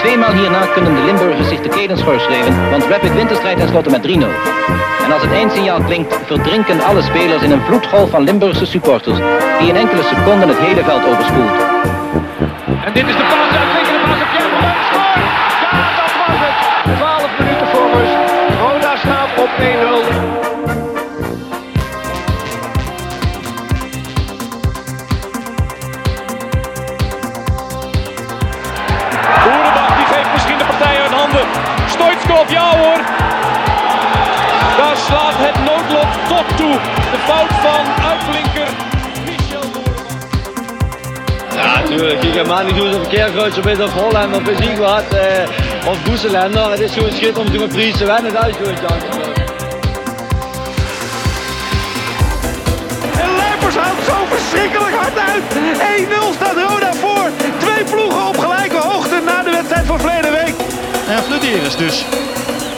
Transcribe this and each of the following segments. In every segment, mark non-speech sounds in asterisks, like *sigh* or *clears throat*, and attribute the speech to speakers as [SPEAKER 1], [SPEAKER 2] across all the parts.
[SPEAKER 1] Tweemaal hierna kunnen de Limburgers zich de kelen schorschrijven, want Rapid Winter strijdt tenslotte met 3-0. En als het eindsignaal klinkt, verdrinken alle spelers in een vloedgolf van Limburgse supporters, die in enkele seconden het hele veld overspoelt.
[SPEAKER 2] En dit is de paas, de uitstekende paas op Jan Bot. Scoort! Ja, dat was het. 12 minuten voor rust. Roda staat op 1-0.
[SPEAKER 3] Boerenbach die geeft misschien de partij uit handen. Stoitskop, ja hoor. Daar slaat het noodlot tot toe. De fout van uitblinker Michel Boerenbach.
[SPEAKER 4] Ja, natuurlijk. Ik heb maar niet doen of Keerkruis of is of Holland of is Ingwart eh, of Boeselender. Het is gewoon schitterend om te doen een prijs te winnen. Dat is gewoon chance.
[SPEAKER 2] En Leipers houdt zo verschrikkelijk hard uit. 1-0 staat Roda voor. Twee ploegen op gelijke hoogte na de wedstrijd van verleden week.
[SPEAKER 5] En Flederis dus.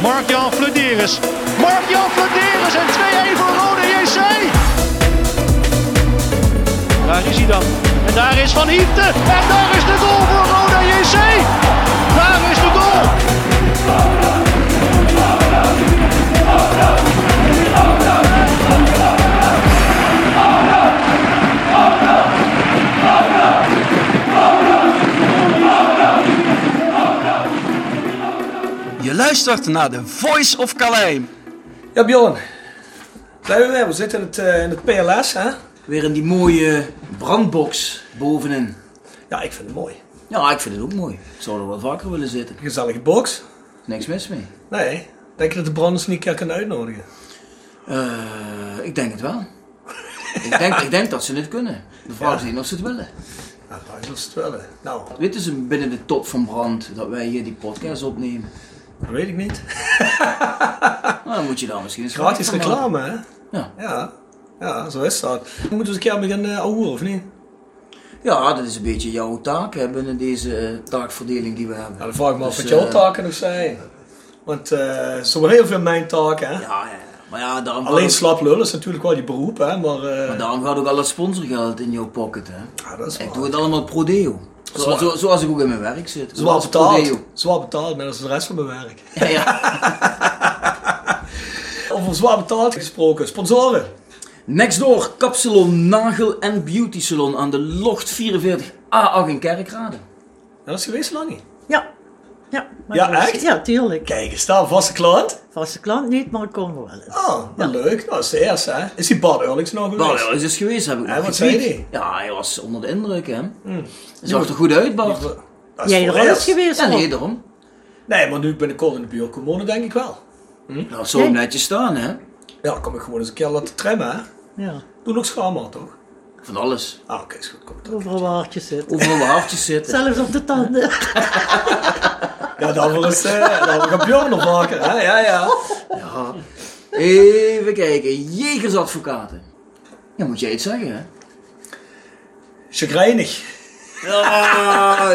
[SPEAKER 5] Mark-Jan Flederis. Mark-Jan Flederis en 2-1 voor Rode JC. Daar is hij dan. En daar is Van Hiepte. En daar is de goal voor Rode JC. Daar is de goal.
[SPEAKER 6] Je luistert naar de Voice of Calais.
[SPEAKER 7] Ja, Bjorn. Blijven we, we zitten in het, eh, in het PLS, hè?
[SPEAKER 8] Weer in die mooie brandbox bovenin.
[SPEAKER 7] Ja, ik vind het mooi.
[SPEAKER 8] Ja, ik vind het ook mooi. Ik zou er wel vaker willen zitten.
[SPEAKER 7] Gezellige box.
[SPEAKER 8] Niks mis mee.
[SPEAKER 7] Nee, denk je dat de brand ons niet een keer kan uitnodigen?
[SPEAKER 8] Eh, ik denk het wel. *laughs* ik, denk, ik denk dat ze het kunnen. De vraag is niet of ze het willen.
[SPEAKER 7] Nou, dat is het wel. hè. Nou,
[SPEAKER 8] Weten ze binnen de top van brand dat wij hier die podcast opnemen?
[SPEAKER 7] dat weet ik niet.
[SPEAKER 8] Nou, dan moet je daar misschien eens
[SPEAKER 7] Gratis
[SPEAKER 8] vragen van
[SPEAKER 7] reclame, hè?
[SPEAKER 8] Ja.
[SPEAKER 7] Ja, ja zo is dat. Dan moeten we eens een keer beginnen uh, of niet?
[SPEAKER 8] maken. Ja, dat is een beetje jouw taak hè, binnen deze eh, taakverdeling die we hebben.
[SPEAKER 7] Ja, dan vraag ik me af
[SPEAKER 8] Dus,
[SPEAKER 7] wat jouw
[SPEAKER 8] eh,
[SPEAKER 7] taken nog zijn. Want eh, zo wel heel veel mijn taken, hè?
[SPEAKER 8] Ja, ja. Maar ja, daarom gaat
[SPEAKER 7] Alleen
[SPEAKER 8] ook-
[SPEAKER 7] slap lullen is natuurlijk wel je beroep, hè? Maar, eh,
[SPEAKER 8] Maar daarom gaat ook al het sponsorgeld in jouw pocket, hè?
[SPEAKER 7] Ja, dat is
[SPEAKER 8] ik
[SPEAKER 7] waar.
[SPEAKER 8] doe het allemaal pro deo. Zo,
[SPEAKER 7] Zwaar.
[SPEAKER 8] zo, zoals ik ook in mijn werk zit.
[SPEAKER 7] zwaar
[SPEAKER 8] Zoals pro
[SPEAKER 7] betaald.
[SPEAKER 8] deo. *laughs*
[SPEAKER 7] Zwaar betaald, net als de rest van mijn werk.
[SPEAKER 8] Ja, ja.
[SPEAKER 7] Over zwaar betaald gesproken, sponsoren.
[SPEAKER 8] Next door, kapsalon Nagel en Beauty Salon aan de Locht 44A8 in Kerkrade.
[SPEAKER 7] Ja, dat is geweest lang niet.
[SPEAKER 9] Ja. Ja, maar
[SPEAKER 7] Ja,
[SPEAKER 9] dat is-
[SPEAKER 7] echt?
[SPEAKER 9] Ja, tuurlijk.
[SPEAKER 7] Kijk, is daar een vaste klant?
[SPEAKER 9] Vaste klant niet, maar ik kom wel eens.
[SPEAKER 7] Oh, nou leuk. Nou, dat is de eerste, hè? Is die Bart Eurlings nog geweest?
[SPEAKER 8] Nou, ja, is dus geweest, heb ik
[SPEAKER 7] Hè,
[SPEAKER 8] nog
[SPEAKER 7] wat
[SPEAKER 8] getweet.
[SPEAKER 7] zei die?
[SPEAKER 8] Ja, hij was onder de indruk, hè. Dus Hij zag er goed uit, Bart.
[SPEAKER 7] Dat is
[SPEAKER 9] Jij er
[SPEAKER 7] voor
[SPEAKER 9] al eens
[SPEAKER 7] eerst.
[SPEAKER 9] geweest?
[SPEAKER 8] Ja,
[SPEAKER 9] hoor.
[SPEAKER 8] nee, daarom.
[SPEAKER 7] Nee, maar nu ben ik al in de buurt komen, denk ik wel.
[SPEAKER 8] Nou, zo
[SPEAKER 9] Nee.
[SPEAKER 8] netjes staan, hè.
[SPEAKER 7] Ja, dan kom ik gewoon eens een keer laten trimmen, hè?
[SPEAKER 9] Ja,
[SPEAKER 7] Doe nog schaamhaar, toch?
[SPEAKER 8] Van alles.
[SPEAKER 7] Ah, oké, is goed. Kom dan.
[SPEAKER 9] overal waardjes zitten.
[SPEAKER 8] Overal waar hartjes *laughs* zitten.
[SPEAKER 9] Zelfs op de tanden.
[SPEAKER 7] Ja, daarvoor *laughs* is eh, daarvoor gaat Bjorn nog maken, hè? Ja, ja.
[SPEAKER 8] Even kijken, Jegersadvocaten. Ja, moet jij iets zeggen, hè?
[SPEAKER 7] Chagrijnig.
[SPEAKER 8] Ja,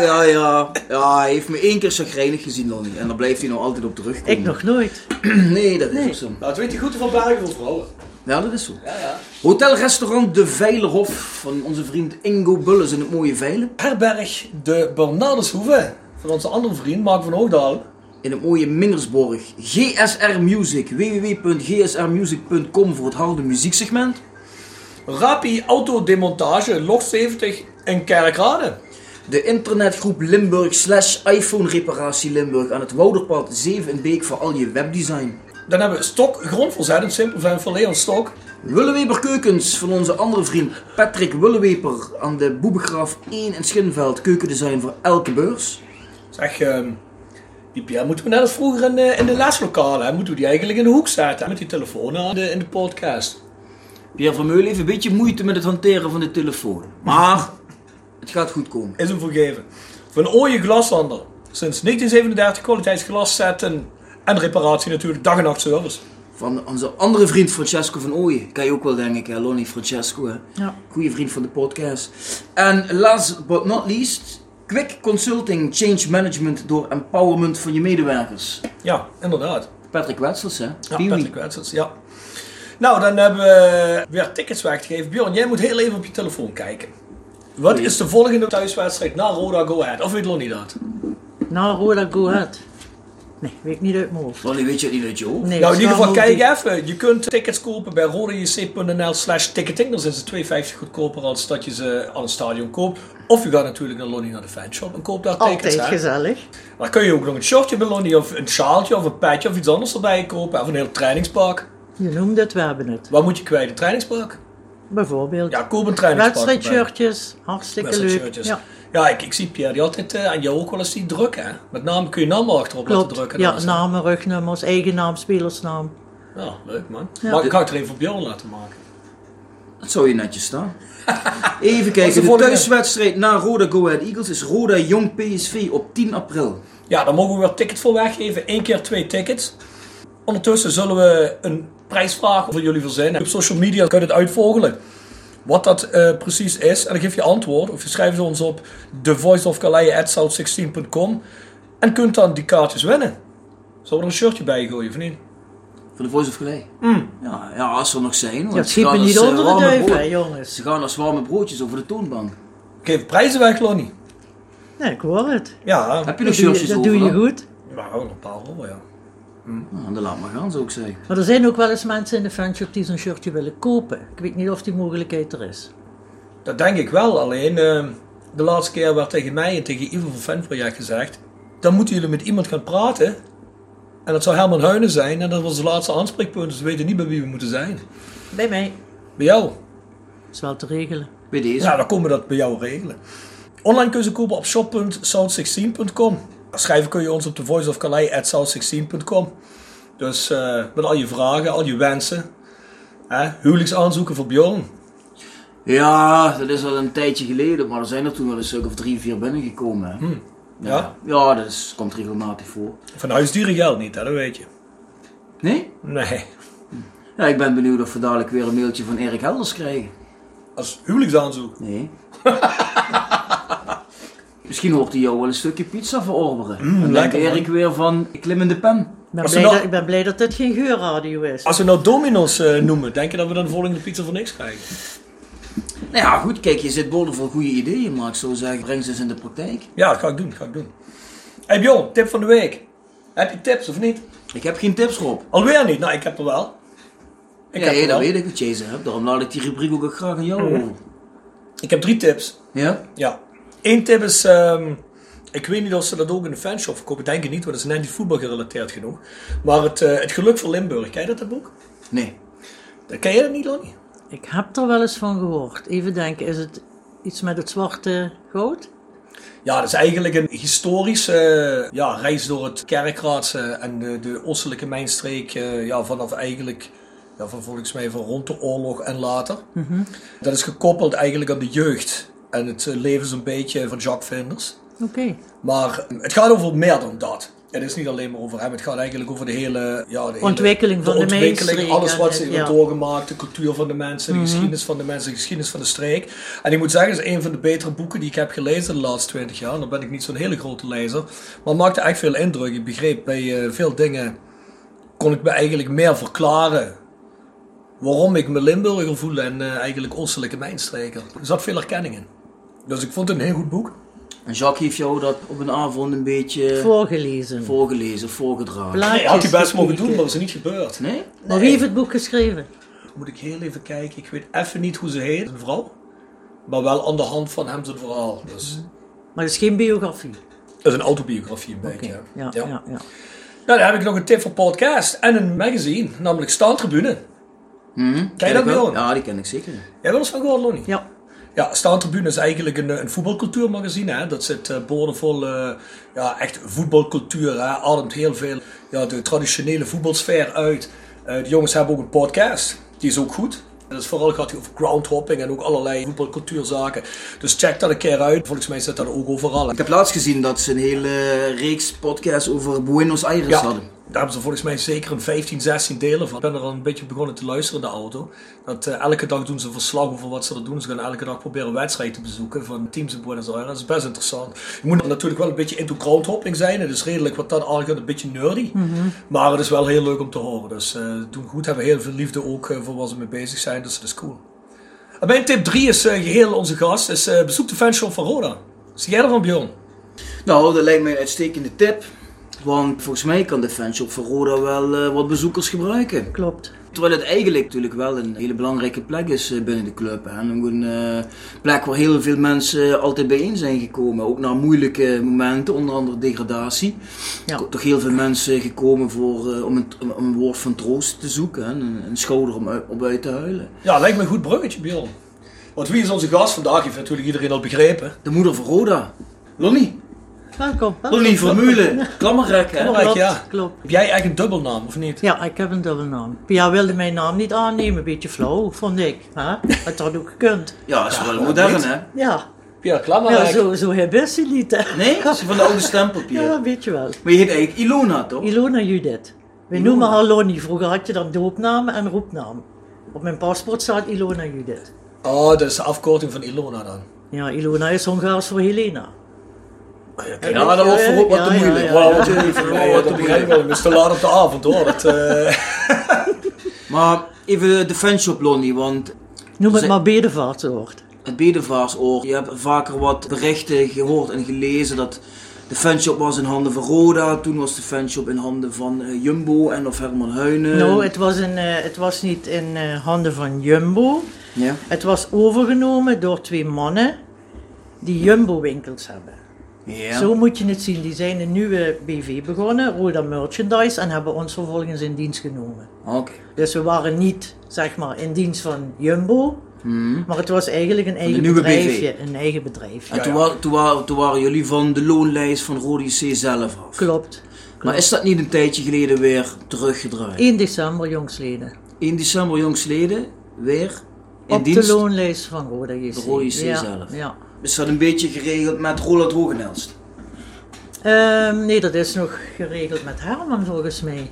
[SPEAKER 8] ja, ja. Ja, hij heeft me één keer chagrijnig gezien, Lonnie. En daar blijft hij nou altijd op terugkomen.
[SPEAKER 9] Ik nog nooit.
[SPEAKER 8] *clears throat* Nee, dat is ook zo.
[SPEAKER 7] Nou, het weet je goed van Bergen voor vrouwen.
[SPEAKER 8] Ja, dat is zo. Hotelrestaurant De Veilerhof van onze vriend Ingo Bulles in het mooie Veilen.
[SPEAKER 7] Herberg de Bernardeshoeve. Van onze andere vriend, Mark van Hoogdal.
[SPEAKER 8] In het mooie Mingersborg. GSR Music. www.gsrmusic.com voor het harde muzieksegment.
[SPEAKER 7] Rapi Autodemontage, log 70 in Kerkrade.
[SPEAKER 8] De internetgroep Limburg slash iPhone Reparatie Limburg aan het Wouderpad 7 in Beek voor al je webdesign.
[SPEAKER 7] Dan hebben we Stok, grondverzet, simpelveen van Leon Stok.
[SPEAKER 8] Willeweber Keukens van onze andere vriend Patrick Willeweper aan de Boebegraaf 1 in Schinveld. Keukendesign voor elke beurs.
[SPEAKER 7] Zeg, ehm, die Pierre moeten we net als vroeger in, eh, in de leslokalen, hè, moeten we die eigenlijk in de hoek zetten. Met die telefoon aan de, in de podcast.
[SPEAKER 8] Pierre Vermeulen heeft een beetje moeite met het hanteren van de telefoon. Maar het gaat goed komen.
[SPEAKER 7] Is hem vergeven. Van Ooije Glashandel. Sinds 1937 kwaliteitsglas zetten en reparatie natuurlijk, dag en nacht service.
[SPEAKER 8] Van onze andere vriend Francesco van Ooyen. Kan je ook wel denken, hè? Lonnie Francesco. Hè?
[SPEAKER 9] Ja.
[SPEAKER 8] Goeie vriend van de podcast. En last but not least, Quick Consulting Change Management door empowerment van je medewerkers.
[SPEAKER 7] Ja, inderdaad.
[SPEAKER 8] Patrick Wetsels, hè?
[SPEAKER 7] Ja,
[SPEAKER 8] Pee-wee.
[SPEAKER 7] Patrick Wetsels, ja. Nou, dan hebben we weer tickets weggegeven. Bjorn, jij moet heel even op je telefoon kijken. Wat is de volgende thuiswedstrijd na Roda Go Ahead? Of weet Lonnie dat?
[SPEAKER 9] Nou, hoe dat goed had. Nee, weet ik niet uit mijn hoofd.
[SPEAKER 8] Wally, weet je het niet uit je hoofd?
[SPEAKER 9] Nee,
[SPEAKER 7] Nou, in ieder geval,
[SPEAKER 9] snel moet
[SPEAKER 7] kijk even. Je kunt tickets kopen bij rodejc.nl slash ticketing. Dan zijn ze 2,50 goedkoper als dat je ze aan het stadion koopt. Of je gaat natuurlijk naar Lonnie naar de fanshop en koopt daar tickets.
[SPEAKER 9] Altijd
[SPEAKER 7] hè.
[SPEAKER 9] gezellig.
[SPEAKER 7] Dan kun je ook nog een shortje bij Lonnie of een sjaaltje of een petje of iets anders erbij kopen. Of een heel trainingspak.
[SPEAKER 9] Je noemde het, we hebben het.
[SPEAKER 7] Waar moet je kwijt? Een trainingspak?
[SPEAKER 9] Bijvoorbeeld.
[SPEAKER 7] Ja, koop een trainingspak. erbij.
[SPEAKER 9] Wedstrijdshirtjes, hartstikke leuk.
[SPEAKER 7] Wedstrijdshirtjes.
[SPEAKER 9] Ja,
[SPEAKER 7] Ja, ik, ik zie Pierre die altijd, eh, en jou ook wel eens die druk hè. Met name kun je namen achterop laten
[SPEAKER 9] klopt.
[SPEAKER 7] drukken.
[SPEAKER 9] Ja, nou.
[SPEAKER 7] dames.
[SPEAKER 9] namen, rugnummers, eigen naam, spelersnaam.
[SPEAKER 7] Ja, leuk man. Maar ik ga het er even voor Bjorn laten maken.
[SPEAKER 8] Dat zou je netjes
[SPEAKER 9] *laughs*
[SPEAKER 8] staan. Even
[SPEAKER 7] Wat is de
[SPEAKER 8] kijken, de
[SPEAKER 7] volgende?
[SPEAKER 8] thuiswedstrijd na Roda Go Ahead Eagles is Roda Jong PSV op 10 april.
[SPEAKER 7] Ja, daar mogen we weer ticket voor weggeven. Eén keer twee tickets. Ondertussen zullen we een prijsvraag voor jullie verzinnen. Op social media kun je het uitvogelen. Wat dat eh, precies is. En dan geef je antwoord. Of je schrijft ze ons op thevoiceofcalais.south16.com En kunt dan die kaartjes winnen. Zullen we er een shirtje bij gooien of niet?
[SPEAKER 8] Van de Voice of Calais. Ja, ja, als ze er nog zijn. Want
[SPEAKER 9] Mm. Ja,
[SPEAKER 8] ze
[SPEAKER 9] schiet me
[SPEAKER 8] gaan als,
[SPEAKER 9] niet
[SPEAKER 8] eh,
[SPEAKER 9] onder de
[SPEAKER 8] warme
[SPEAKER 9] duiven, hè,
[SPEAKER 8] brood-
[SPEAKER 9] jongens.
[SPEAKER 8] Ze gaan als warme broodjes over de toonbank.
[SPEAKER 7] Geef prijzen weg, Lonnie.
[SPEAKER 9] Nee, ik hoor het.
[SPEAKER 7] Ja,
[SPEAKER 8] Heb je nog
[SPEAKER 9] Dat doe
[SPEAKER 8] shirtjes
[SPEAKER 9] je, dat
[SPEAKER 8] over
[SPEAKER 9] doe je
[SPEAKER 8] dan?
[SPEAKER 9] goed.
[SPEAKER 7] nou, een paar rollen, ja.
[SPEAKER 8] Nou, dan laat maar gaan, zou ik zeggen.
[SPEAKER 9] Maar er zijn ook wel eens mensen in de fanshop die zo'n shirtje willen kopen. Ik weet niet of die mogelijkheid er is.
[SPEAKER 7] Dat denk ik wel. Alleen eh, de laatste keer werd tegen mij en tegen Ivo van Fanproject gezegd: dan moeten jullie met iemand gaan praten. En dat zou Herman Huinen zijn. En dat was het laatste aanspreekpunt. Dus we weten niet bij wie we moeten zijn.
[SPEAKER 9] Bij mij.
[SPEAKER 7] Bij jou.
[SPEAKER 9] is wel te regelen.
[SPEAKER 8] Bij deze.
[SPEAKER 7] Nou, dan komen we dat bij jou regelen. Online kun je ze kopen op shop.sound16.com. Schrijven kun je ons op de voice of Calais at sound16.com. Dus eh, met al je vragen, al je wensen. Hè, huwelijksaanzoeken voor Bjorn.
[SPEAKER 8] Ja, dat is al een tijdje geleden, maar er zijn er toen wel een stuk of drie, vier binnengekomen. Hè?
[SPEAKER 9] Hmm.
[SPEAKER 7] Ja.
[SPEAKER 8] Ja, dat is- komt regelmatig voor.
[SPEAKER 7] Van huisdieren geldt niet, hè, dat weet je.
[SPEAKER 8] Nee?
[SPEAKER 7] Nee.
[SPEAKER 8] Ja, ik ben benieuwd of we dadelijk weer een mailtje van Erik Helders krijgen.
[SPEAKER 7] Als huwelijksaanzoek.
[SPEAKER 8] Nee. *laughs* Misschien hoort hij jou wel een stukje pizza verorberen. en denkt
[SPEAKER 7] Mm, lekker, man.
[SPEAKER 8] Erik weer van, ik klim in de pen.
[SPEAKER 9] Ik ben,
[SPEAKER 7] Als
[SPEAKER 9] blij
[SPEAKER 7] we nou-
[SPEAKER 9] dat, ik ben blij dat dit geen geurradio is.
[SPEAKER 7] Als we nou domino's eh, noemen, denk je dat we dan de volgende pizza voor niks krijgen?
[SPEAKER 8] Nou ja, goed, kijk, je zit boordevol goede ideeën, maar ik zou zeggen, breng ze eens in de praktijk.
[SPEAKER 7] Ja, dat ga ik doen, dat ga ik doen. Hey Bjorn, tip van de week. Heb je tips of niet?
[SPEAKER 8] Ik heb geen tips, Rob.
[SPEAKER 7] Alweer niet? Nou, ik heb er wel. Ik
[SPEAKER 8] ja,
[SPEAKER 7] heb
[SPEAKER 8] ja,
[SPEAKER 7] er
[SPEAKER 8] dat
[SPEAKER 7] wel.
[SPEAKER 8] weet ik wat jij ze hebt. Daarom laat ik die rubriek ook graag aan jou over.
[SPEAKER 7] Ik heb drie tips.
[SPEAKER 8] Ja?
[SPEAKER 7] Ja. Eén tip is, ehm, ik weet niet of ze dat ook in de fanshop verkopen. Denk ik niet, want dat is net niet voetbal gerelateerd genoeg. Maar het, eh, het geluk van Limburg, ken je dat, dat boek?
[SPEAKER 8] Nee.
[SPEAKER 7] Ken jij dat niet, Lonnie?
[SPEAKER 9] Ik heb er wel eens van gehoord. Even denken, is het iets met het zwarte goud?
[SPEAKER 7] Ja, dat is eigenlijk een historische eh, ja, reis door het kerkraadse en de, de oostelijke mijnstreek. eh, ja, vanaf eigenlijk, ja, van volgens mij van rond de oorlog en later. Dat is gekoppeld eigenlijk aan de jeugd en het eh, leven zo'n beetje van Jacques Vinders.
[SPEAKER 9] Oké.
[SPEAKER 7] Maar eh, het gaat over meer dan dat. Het is niet alleen maar over hem, het gaat eigenlijk over de hele... Ja, de hele-
[SPEAKER 9] Ontwikkeling van de
[SPEAKER 7] ontwikkeling,
[SPEAKER 9] mainstream
[SPEAKER 7] alles
[SPEAKER 9] en
[SPEAKER 7] wat
[SPEAKER 9] het-
[SPEAKER 7] ze
[SPEAKER 9] ja. Mhm.
[SPEAKER 7] hebben doorgemaakt, de cultuur van de mensen, de geschiedenis van de mensen, de geschiedenis van de streek. En ik moet zeggen, het is een van de betere boeken die ik heb gelezen de laatste twintig jaar. Dan ben ik niet zo'n hele grote lezer, maar het maakte echt veel indruk. Ik begreep bij eh, veel dingen, kon ik me eigenlijk meer verklaren waarom ik me Limburger voel en eh, eigenlijk Oostelijke mijnstreker. Er zat veel erkenning in. Dus ik vond het een heel goed boek.
[SPEAKER 8] En Jacques heeft jou dat op een avond een beetje
[SPEAKER 9] Voorgelezen.
[SPEAKER 8] voorgelezen, voorgedragen.
[SPEAKER 7] Nee,
[SPEAKER 9] Plaatjes
[SPEAKER 7] had hij best mogen
[SPEAKER 9] gekeken.
[SPEAKER 7] doen, maar dat is niet gebeurd.
[SPEAKER 8] nee?
[SPEAKER 9] Maar wie heeft het boek geschreven?
[SPEAKER 7] Moet ik heel even kijken. Ik weet even niet hoe ze heet, een vrouw. Maar wel aan de hand van hem zijn verhaal. Dus
[SPEAKER 9] Mhm. Maar het is geen biografie.
[SPEAKER 7] dat is een autobiografie een beetje.
[SPEAKER 9] Ja,
[SPEAKER 7] hè.
[SPEAKER 9] ja, ja. ja,
[SPEAKER 7] Nou, dan heb ik nog een tip voor podcast en een magazine, namelijk Staantribune. Ken je dat
[SPEAKER 8] Ken ik
[SPEAKER 7] wel?
[SPEAKER 8] Ja, die ken ik zeker.
[SPEAKER 7] Jij wil eens van gehoord, Lonnie?
[SPEAKER 9] Ja.
[SPEAKER 7] Ja, Staantribune is eigenlijk een, eh, een voetbalcultuurmagazine. Hè? Dat zit eh, boordevol eh, ja, echt voetbalcultuur. Hè? Ademt heel veel ja, de traditionele voetbalsfeer uit. Eh, de jongens hebben ook een podcast. Die is ook goed. En dat is vooral gaat hij over groundhopping en ook allerlei voetbalcultuurzaken. Dus check dat een keer uit. Volgens mij zit dat ook overal.
[SPEAKER 8] Ik heb laatst gezien dat ze een hele reeks podcasts over Buenos Aires
[SPEAKER 7] Ja, daar
[SPEAKER 8] hadden.
[SPEAKER 7] hebben ze volgens mij zeker een 15, 16 delen van. Ik ben er al een beetje begonnen te luisteren in de auto. Dat, eh, elke dag doen ze een verslag over wat ze er doen. Ze gaan elke dag proberen een wedstrijd te bezoeken van teams in Buenos Aires. Dat is best interessant. Je moet natuurlijk wel een beetje into crowdhopping zijn. Het is redelijk wat dat aangaat een beetje nerdy. Maar het is wel heel leuk om te horen. Dus eh, ze doen goed, hebben heel veel liefde ook eh, voor waar ze mee bezig zijn. Dus dat is cool. En Dus, mijn tip 3 is eh, geheel onze gast. Is, eh, bezoek de fanshop van Roda. Zie jij ervan Bjorn?
[SPEAKER 8] Nou, dat lijkt mij een uitstekende tip. Want volgens mij kan de fanshop van Roda wel eh, wat bezoekers gebruiken.
[SPEAKER 9] Klopt.
[SPEAKER 8] Terwijl het eigenlijk natuurlijk wel een hele belangrijke plek is eh, binnen de club. Hè. En ook een eh, plek waar heel veel mensen eh, altijd bijeen zijn gekomen. Ook naar moeilijke momenten, onder andere degradatie.
[SPEAKER 9] Ja.
[SPEAKER 8] Ko- Toch heel veel mensen gekomen voor, eh, om, een, om een woord van troost te zoeken. Hè. Een, een schouder om uit- op uit te huilen.
[SPEAKER 7] Ja, lijkt me een goed bruggetje, Bjorn. Want wie is onze gast vandaag? Heeft natuurlijk iedereen al begrepen.
[SPEAKER 8] De moeder van Roda. Lonnie.
[SPEAKER 9] Welkom. welkom.
[SPEAKER 8] Lonnie
[SPEAKER 9] *laughs*
[SPEAKER 8] Vermeulen. Klammerrek. hè.
[SPEAKER 7] Belangrijk,
[SPEAKER 9] Klopt,
[SPEAKER 7] ja.
[SPEAKER 9] klopt.
[SPEAKER 7] Heb jij eigenlijk een dubbelnaam, of niet?
[SPEAKER 9] Ja, ik heb een dubbelnaam. Pia wilde mijn naam niet aannemen, een beetje flauw, vond ik. Hè? Het had ook gekund.
[SPEAKER 8] Ja, is wel modern hè.
[SPEAKER 9] Ja,
[SPEAKER 7] Pierre Klammerijk.
[SPEAKER 9] ja zo, zo hebben ze niet. Hè?
[SPEAKER 8] Nee, ze van de oude stempel, Pierre.
[SPEAKER 9] Ja, weet je wel.
[SPEAKER 8] Maar je heet eigenlijk Ilona, toch?
[SPEAKER 9] Ilona Judith. We noemen haar Lonnie. Vroeger had je dan doopnaam en roepnaam. Op mijn paspoort staat Ilona Judith.
[SPEAKER 7] Oh, dat is de afkorting van Ilona dan.
[SPEAKER 9] Ja, Ilona is Hongaars voor Helena.
[SPEAKER 7] Ja, maar dat wordt voor wat te
[SPEAKER 9] Ja, ja,
[SPEAKER 7] moeilijk.
[SPEAKER 9] ja,
[SPEAKER 7] Wauw,
[SPEAKER 9] ja.
[SPEAKER 7] wat even, wauw, wat te moeilijk. Het is te laat op de avond hoor. Dat, eh,
[SPEAKER 8] Maar even de fanshop, Lonnie, want
[SPEAKER 9] Noem het
[SPEAKER 8] Ze-
[SPEAKER 9] maar bedevaartsoord.
[SPEAKER 8] het bedevaarsoor, je hebt vaker wat berichten gehoord en gelezen dat de fanshop was in handen van Roda, toen was de fanshop in handen van eh, Jumbo en of Herman Huinen.
[SPEAKER 9] Nou, het was, een, eh, het was niet in eh, handen van Jumbo.
[SPEAKER 8] Ja.
[SPEAKER 9] Het was overgenomen door twee mannen die Jumbo-winkels hebben.
[SPEAKER 8] Ja.
[SPEAKER 9] Zo moet je het zien. Die zijn een nieuwe BV begonnen, Roda Merchandise, en hebben ons vervolgens in dienst genomen.
[SPEAKER 8] Oké.
[SPEAKER 9] Dus we waren niet, zeg maar, in dienst van Jumbo, maar het was eigenlijk een eigen
[SPEAKER 8] Hmm. nieuwe BV.
[SPEAKER 9] bedrijfje. Een eigen bedrijfje.
[SPEAKER 8] En toen, wa- toen, wa- toen waren jullie van de loonlijst van Roda C zelf af.
[SPEAKER 9] Klopt.
[SPEAKER 8] Maar is dat niet een tijdje geleden weer teruggedraaid?
[SPEAKER 9] 1 december, jongsleden.
[SPEAKER 8] 1 december jongsleden weer in
[SPEAKER 9] Op
[SPEAKER 8] dienst.
[SPEAKER 9] de loonlijst van Roda JC.
[SPEAKER 8] De Roda JC
[SPEAKER 9] ja,
[SPEAKER 8] zelf.
[SPEAKER 9] Ja.
[SPEAKER 8] Is dat een beetje geregeld met Roland Hogenelst?
[SPEAKER 9] Ehm, nee, dat is nog geregeld met Herman volgens mij.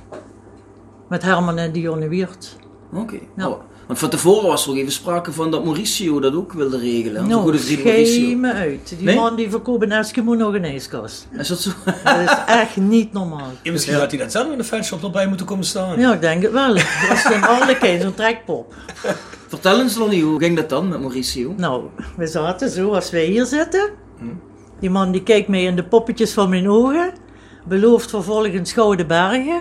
[SPEAKER 9] Met Herman en Dionne Wiert.
[SPEAKER 8] Oké.
[SPEAKER 9] Ja.
[SPEAKER 8] Oh, Want van tevoren was er ook even sprake van dat Mauricio dat ook wilde regelen. Onze
[SPEAKER 9] Nou,
[SPEAKER 8] goede vriend
[SPEAKER 9] schei
[SPEAKER 8] Mauricio.
[SPEAKER 9] me uit. Die
[SPEAKER 8] Nee?
[SPEAKER 9] man die verkoopt een Eskimo nog een ijskast.
[SPEAKER 8] Is dat zo? *laughs*
[SPEAKER 9] Dat is echt niet normaal.
[SPEAKER 7] *laughs* ja, misschien had hij dat zelf in de fanshop nog bij moeten komen staan.
[SPEAKER 9] Ja, ik denk het wel. Dat was *laughs* een alle keer zo'n trekpop.
[SPEAKER 8] Vertel eens Lonnie, hoe ging dat dan met Mauricio?
[SPEAKER 9] Nou, we zaten zo als wij hier zitten. Die man die kijkt mij in de poppetjes van mijn ogen. Belooft vervolgens Gouden Bergen.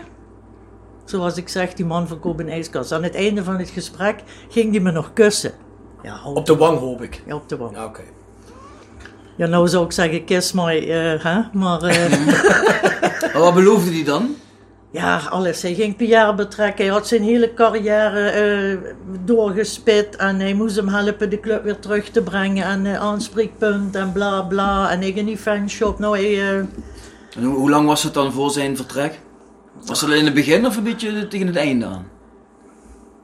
[SPEAKER 9] Zoals ik zeg, die man verkoopt een ijskast. Aan het einde van het gesprek ging die me nog kussen. Ja, hou
[SPEAKER 7] Op de wang hoop ik.
[SPEAKER 9] Ja, op de wang.
[SPEAKER 7] Ja, oké.
[SPEAKER 9] Ja, nou zou ik zeggen, kiss my, eh, hè? maar eh,
[SPEAKER 8] Maar wat beloofde hij dan?
[SPEAKER 9] ja, alles. Hij ging Pierre betrekken, hij had zijn hele carrière eh, doorgespit en hij moest hem helpen de club weer terug te brengen en eh, aanspreekpunt en bla bla en ik in die fanshop. Nou, hij, eh,
[SPEAKER 8] En hoe, hoe lang was het dan voor zijn vertrek? Was dat in het begin of een beetje tegen het einde aan?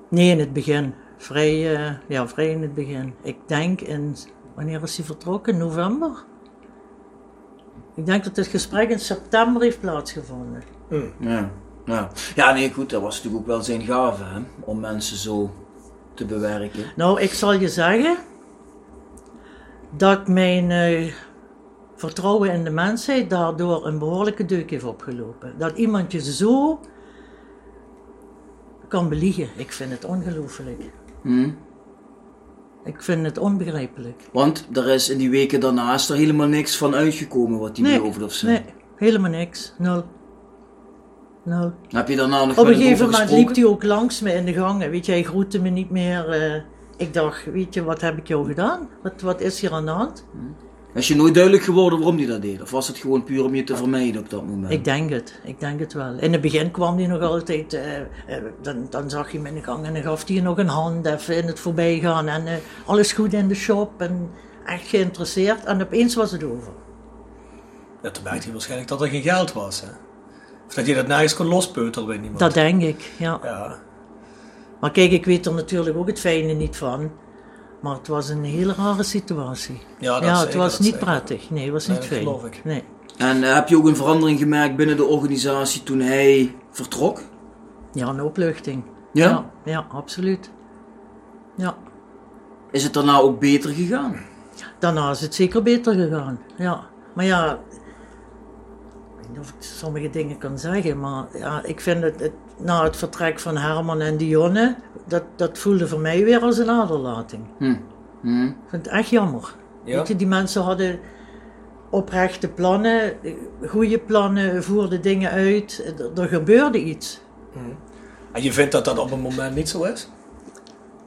[SPEAKER 9] nee, in het begin. Vrij, eh, ja, vrij in het begin. Ik denk in, wanneer is hij vertrokken? November? Ik denk dat het gesprek in september heeft plaatsgevonden.
[SPEAKER 8] Ja. Ja, ja nee goed, dat was natuurlijk ook wel zijn gave hè? om mensen zo te bewerken.
[SPEAKER 9] Nou, ik zal je zeggen dat mijn eh, vertrouwen in de mensheid daardoor een behoorlijke deuk heeft opgelopen. Dat iemand je zo kan beliegen. Ik vind het ongelooflijk.
[SPEAKER 8] Hm?
[SPEAKER 9] Ik vind het onbegrijpelijk.
[SPEAKER 8] Want er is in die weken daarna is er helemaal niks van uitgekomen wat hij beloofde of zo.
[SPEAKER 9] nee, helemaal niks. Nul. Nul.
[SPEAKER 8] Heb je daarna nog met
[SPEAKER 9] Op een
[SPEAKER 8] hem
[SPEAKER 9] gegeven
[SPEAKER 8] over
[SPEAKER 9] moment
[SPEAKER 8] gesproken?
[SPEAKER 9] liep hij ook langs me in de gangen. Weet je, hij groette me niet meer. eh. ik dacht, weet je, wat heb ik jou gedaan? Wat, wat is hier aan de hand?
[SPEAKER 8] Is je nooit duidelijk geworden waarom die dat deed? Of was het gewoon puur om je te vermijden op dat moment?
[SPEAKER 9] Ik denk het, ik denk het wel. In het begin kwam hij nog altijd, eh, eh, dan, dan zag je hem in de gang en dan gaf hij je nog een hand even in het voorbijgaan en eh, alles goed in de shop en echt geïnteresseerd en opeens was het over.
[SPEAKER 7] Ja, toen merkte hij waarschijnlijk dat er geen geld was. Hè? Of dat je dat nergens kon lospeutelen bij niemand.
[SPEAKER 9] Dat denk ik, ja.
[SPEAKER 7] Ja.
[SPEAKER 9] Maar kijk, ik weet er natuurlijk ook het fijne niet van, maar het was een hele rare situatie.
[SPEAKER 7] Ja, dat
[SPEAKER 9] het
[SPEAKER 7] zeker,
[SPEAKER 9] was
[SPEAKER 7] dat
[SPEAKER 9] niet
[SPEAKER 7] zeker.
[SPEAKER 9] prettig, nee, het was niet
[SPEAKER 7] dat
[SPEAKER 9] fijn.
[SPEAKER 7] geloof ik.
[SPEAKER 9] Nee.
[SPEAKER 8] En eh, heb je ook een verandering gemerkt binnen de organisatie toen hij vertrok?
[SPEAKER 9] Ja, een opluchting.
[SPEAKER 8] Ja?
[SPEAKER 9] Ja, ja absoluut. Ja.
[SPEAKER 8] Is het daarna ook beter gegaan?
[SPEAKER 9] daarna is het zeker beter gegaan. Ja. Maar ja, ik weet niet of ik sommige dingen kan zeggen, maar ja, ik vind het, het na het vertrek van Herman en Dionne, dat, dat voelde voor mij weer als een aderlating.
[SPEAKER 8] Hm. Hm.
[SPEAKER 9] Ik vind het echt jammer.
[SPEAKER 7] Ja?
[SPEAKER 9] Weet je, die mensen hadden oprechte plannen, eh, goede plannen, voerde dingen uit. Er- Er gebeurde iets.
[SPEAKER 7] En je vindt dat dat op een moment niet zo is?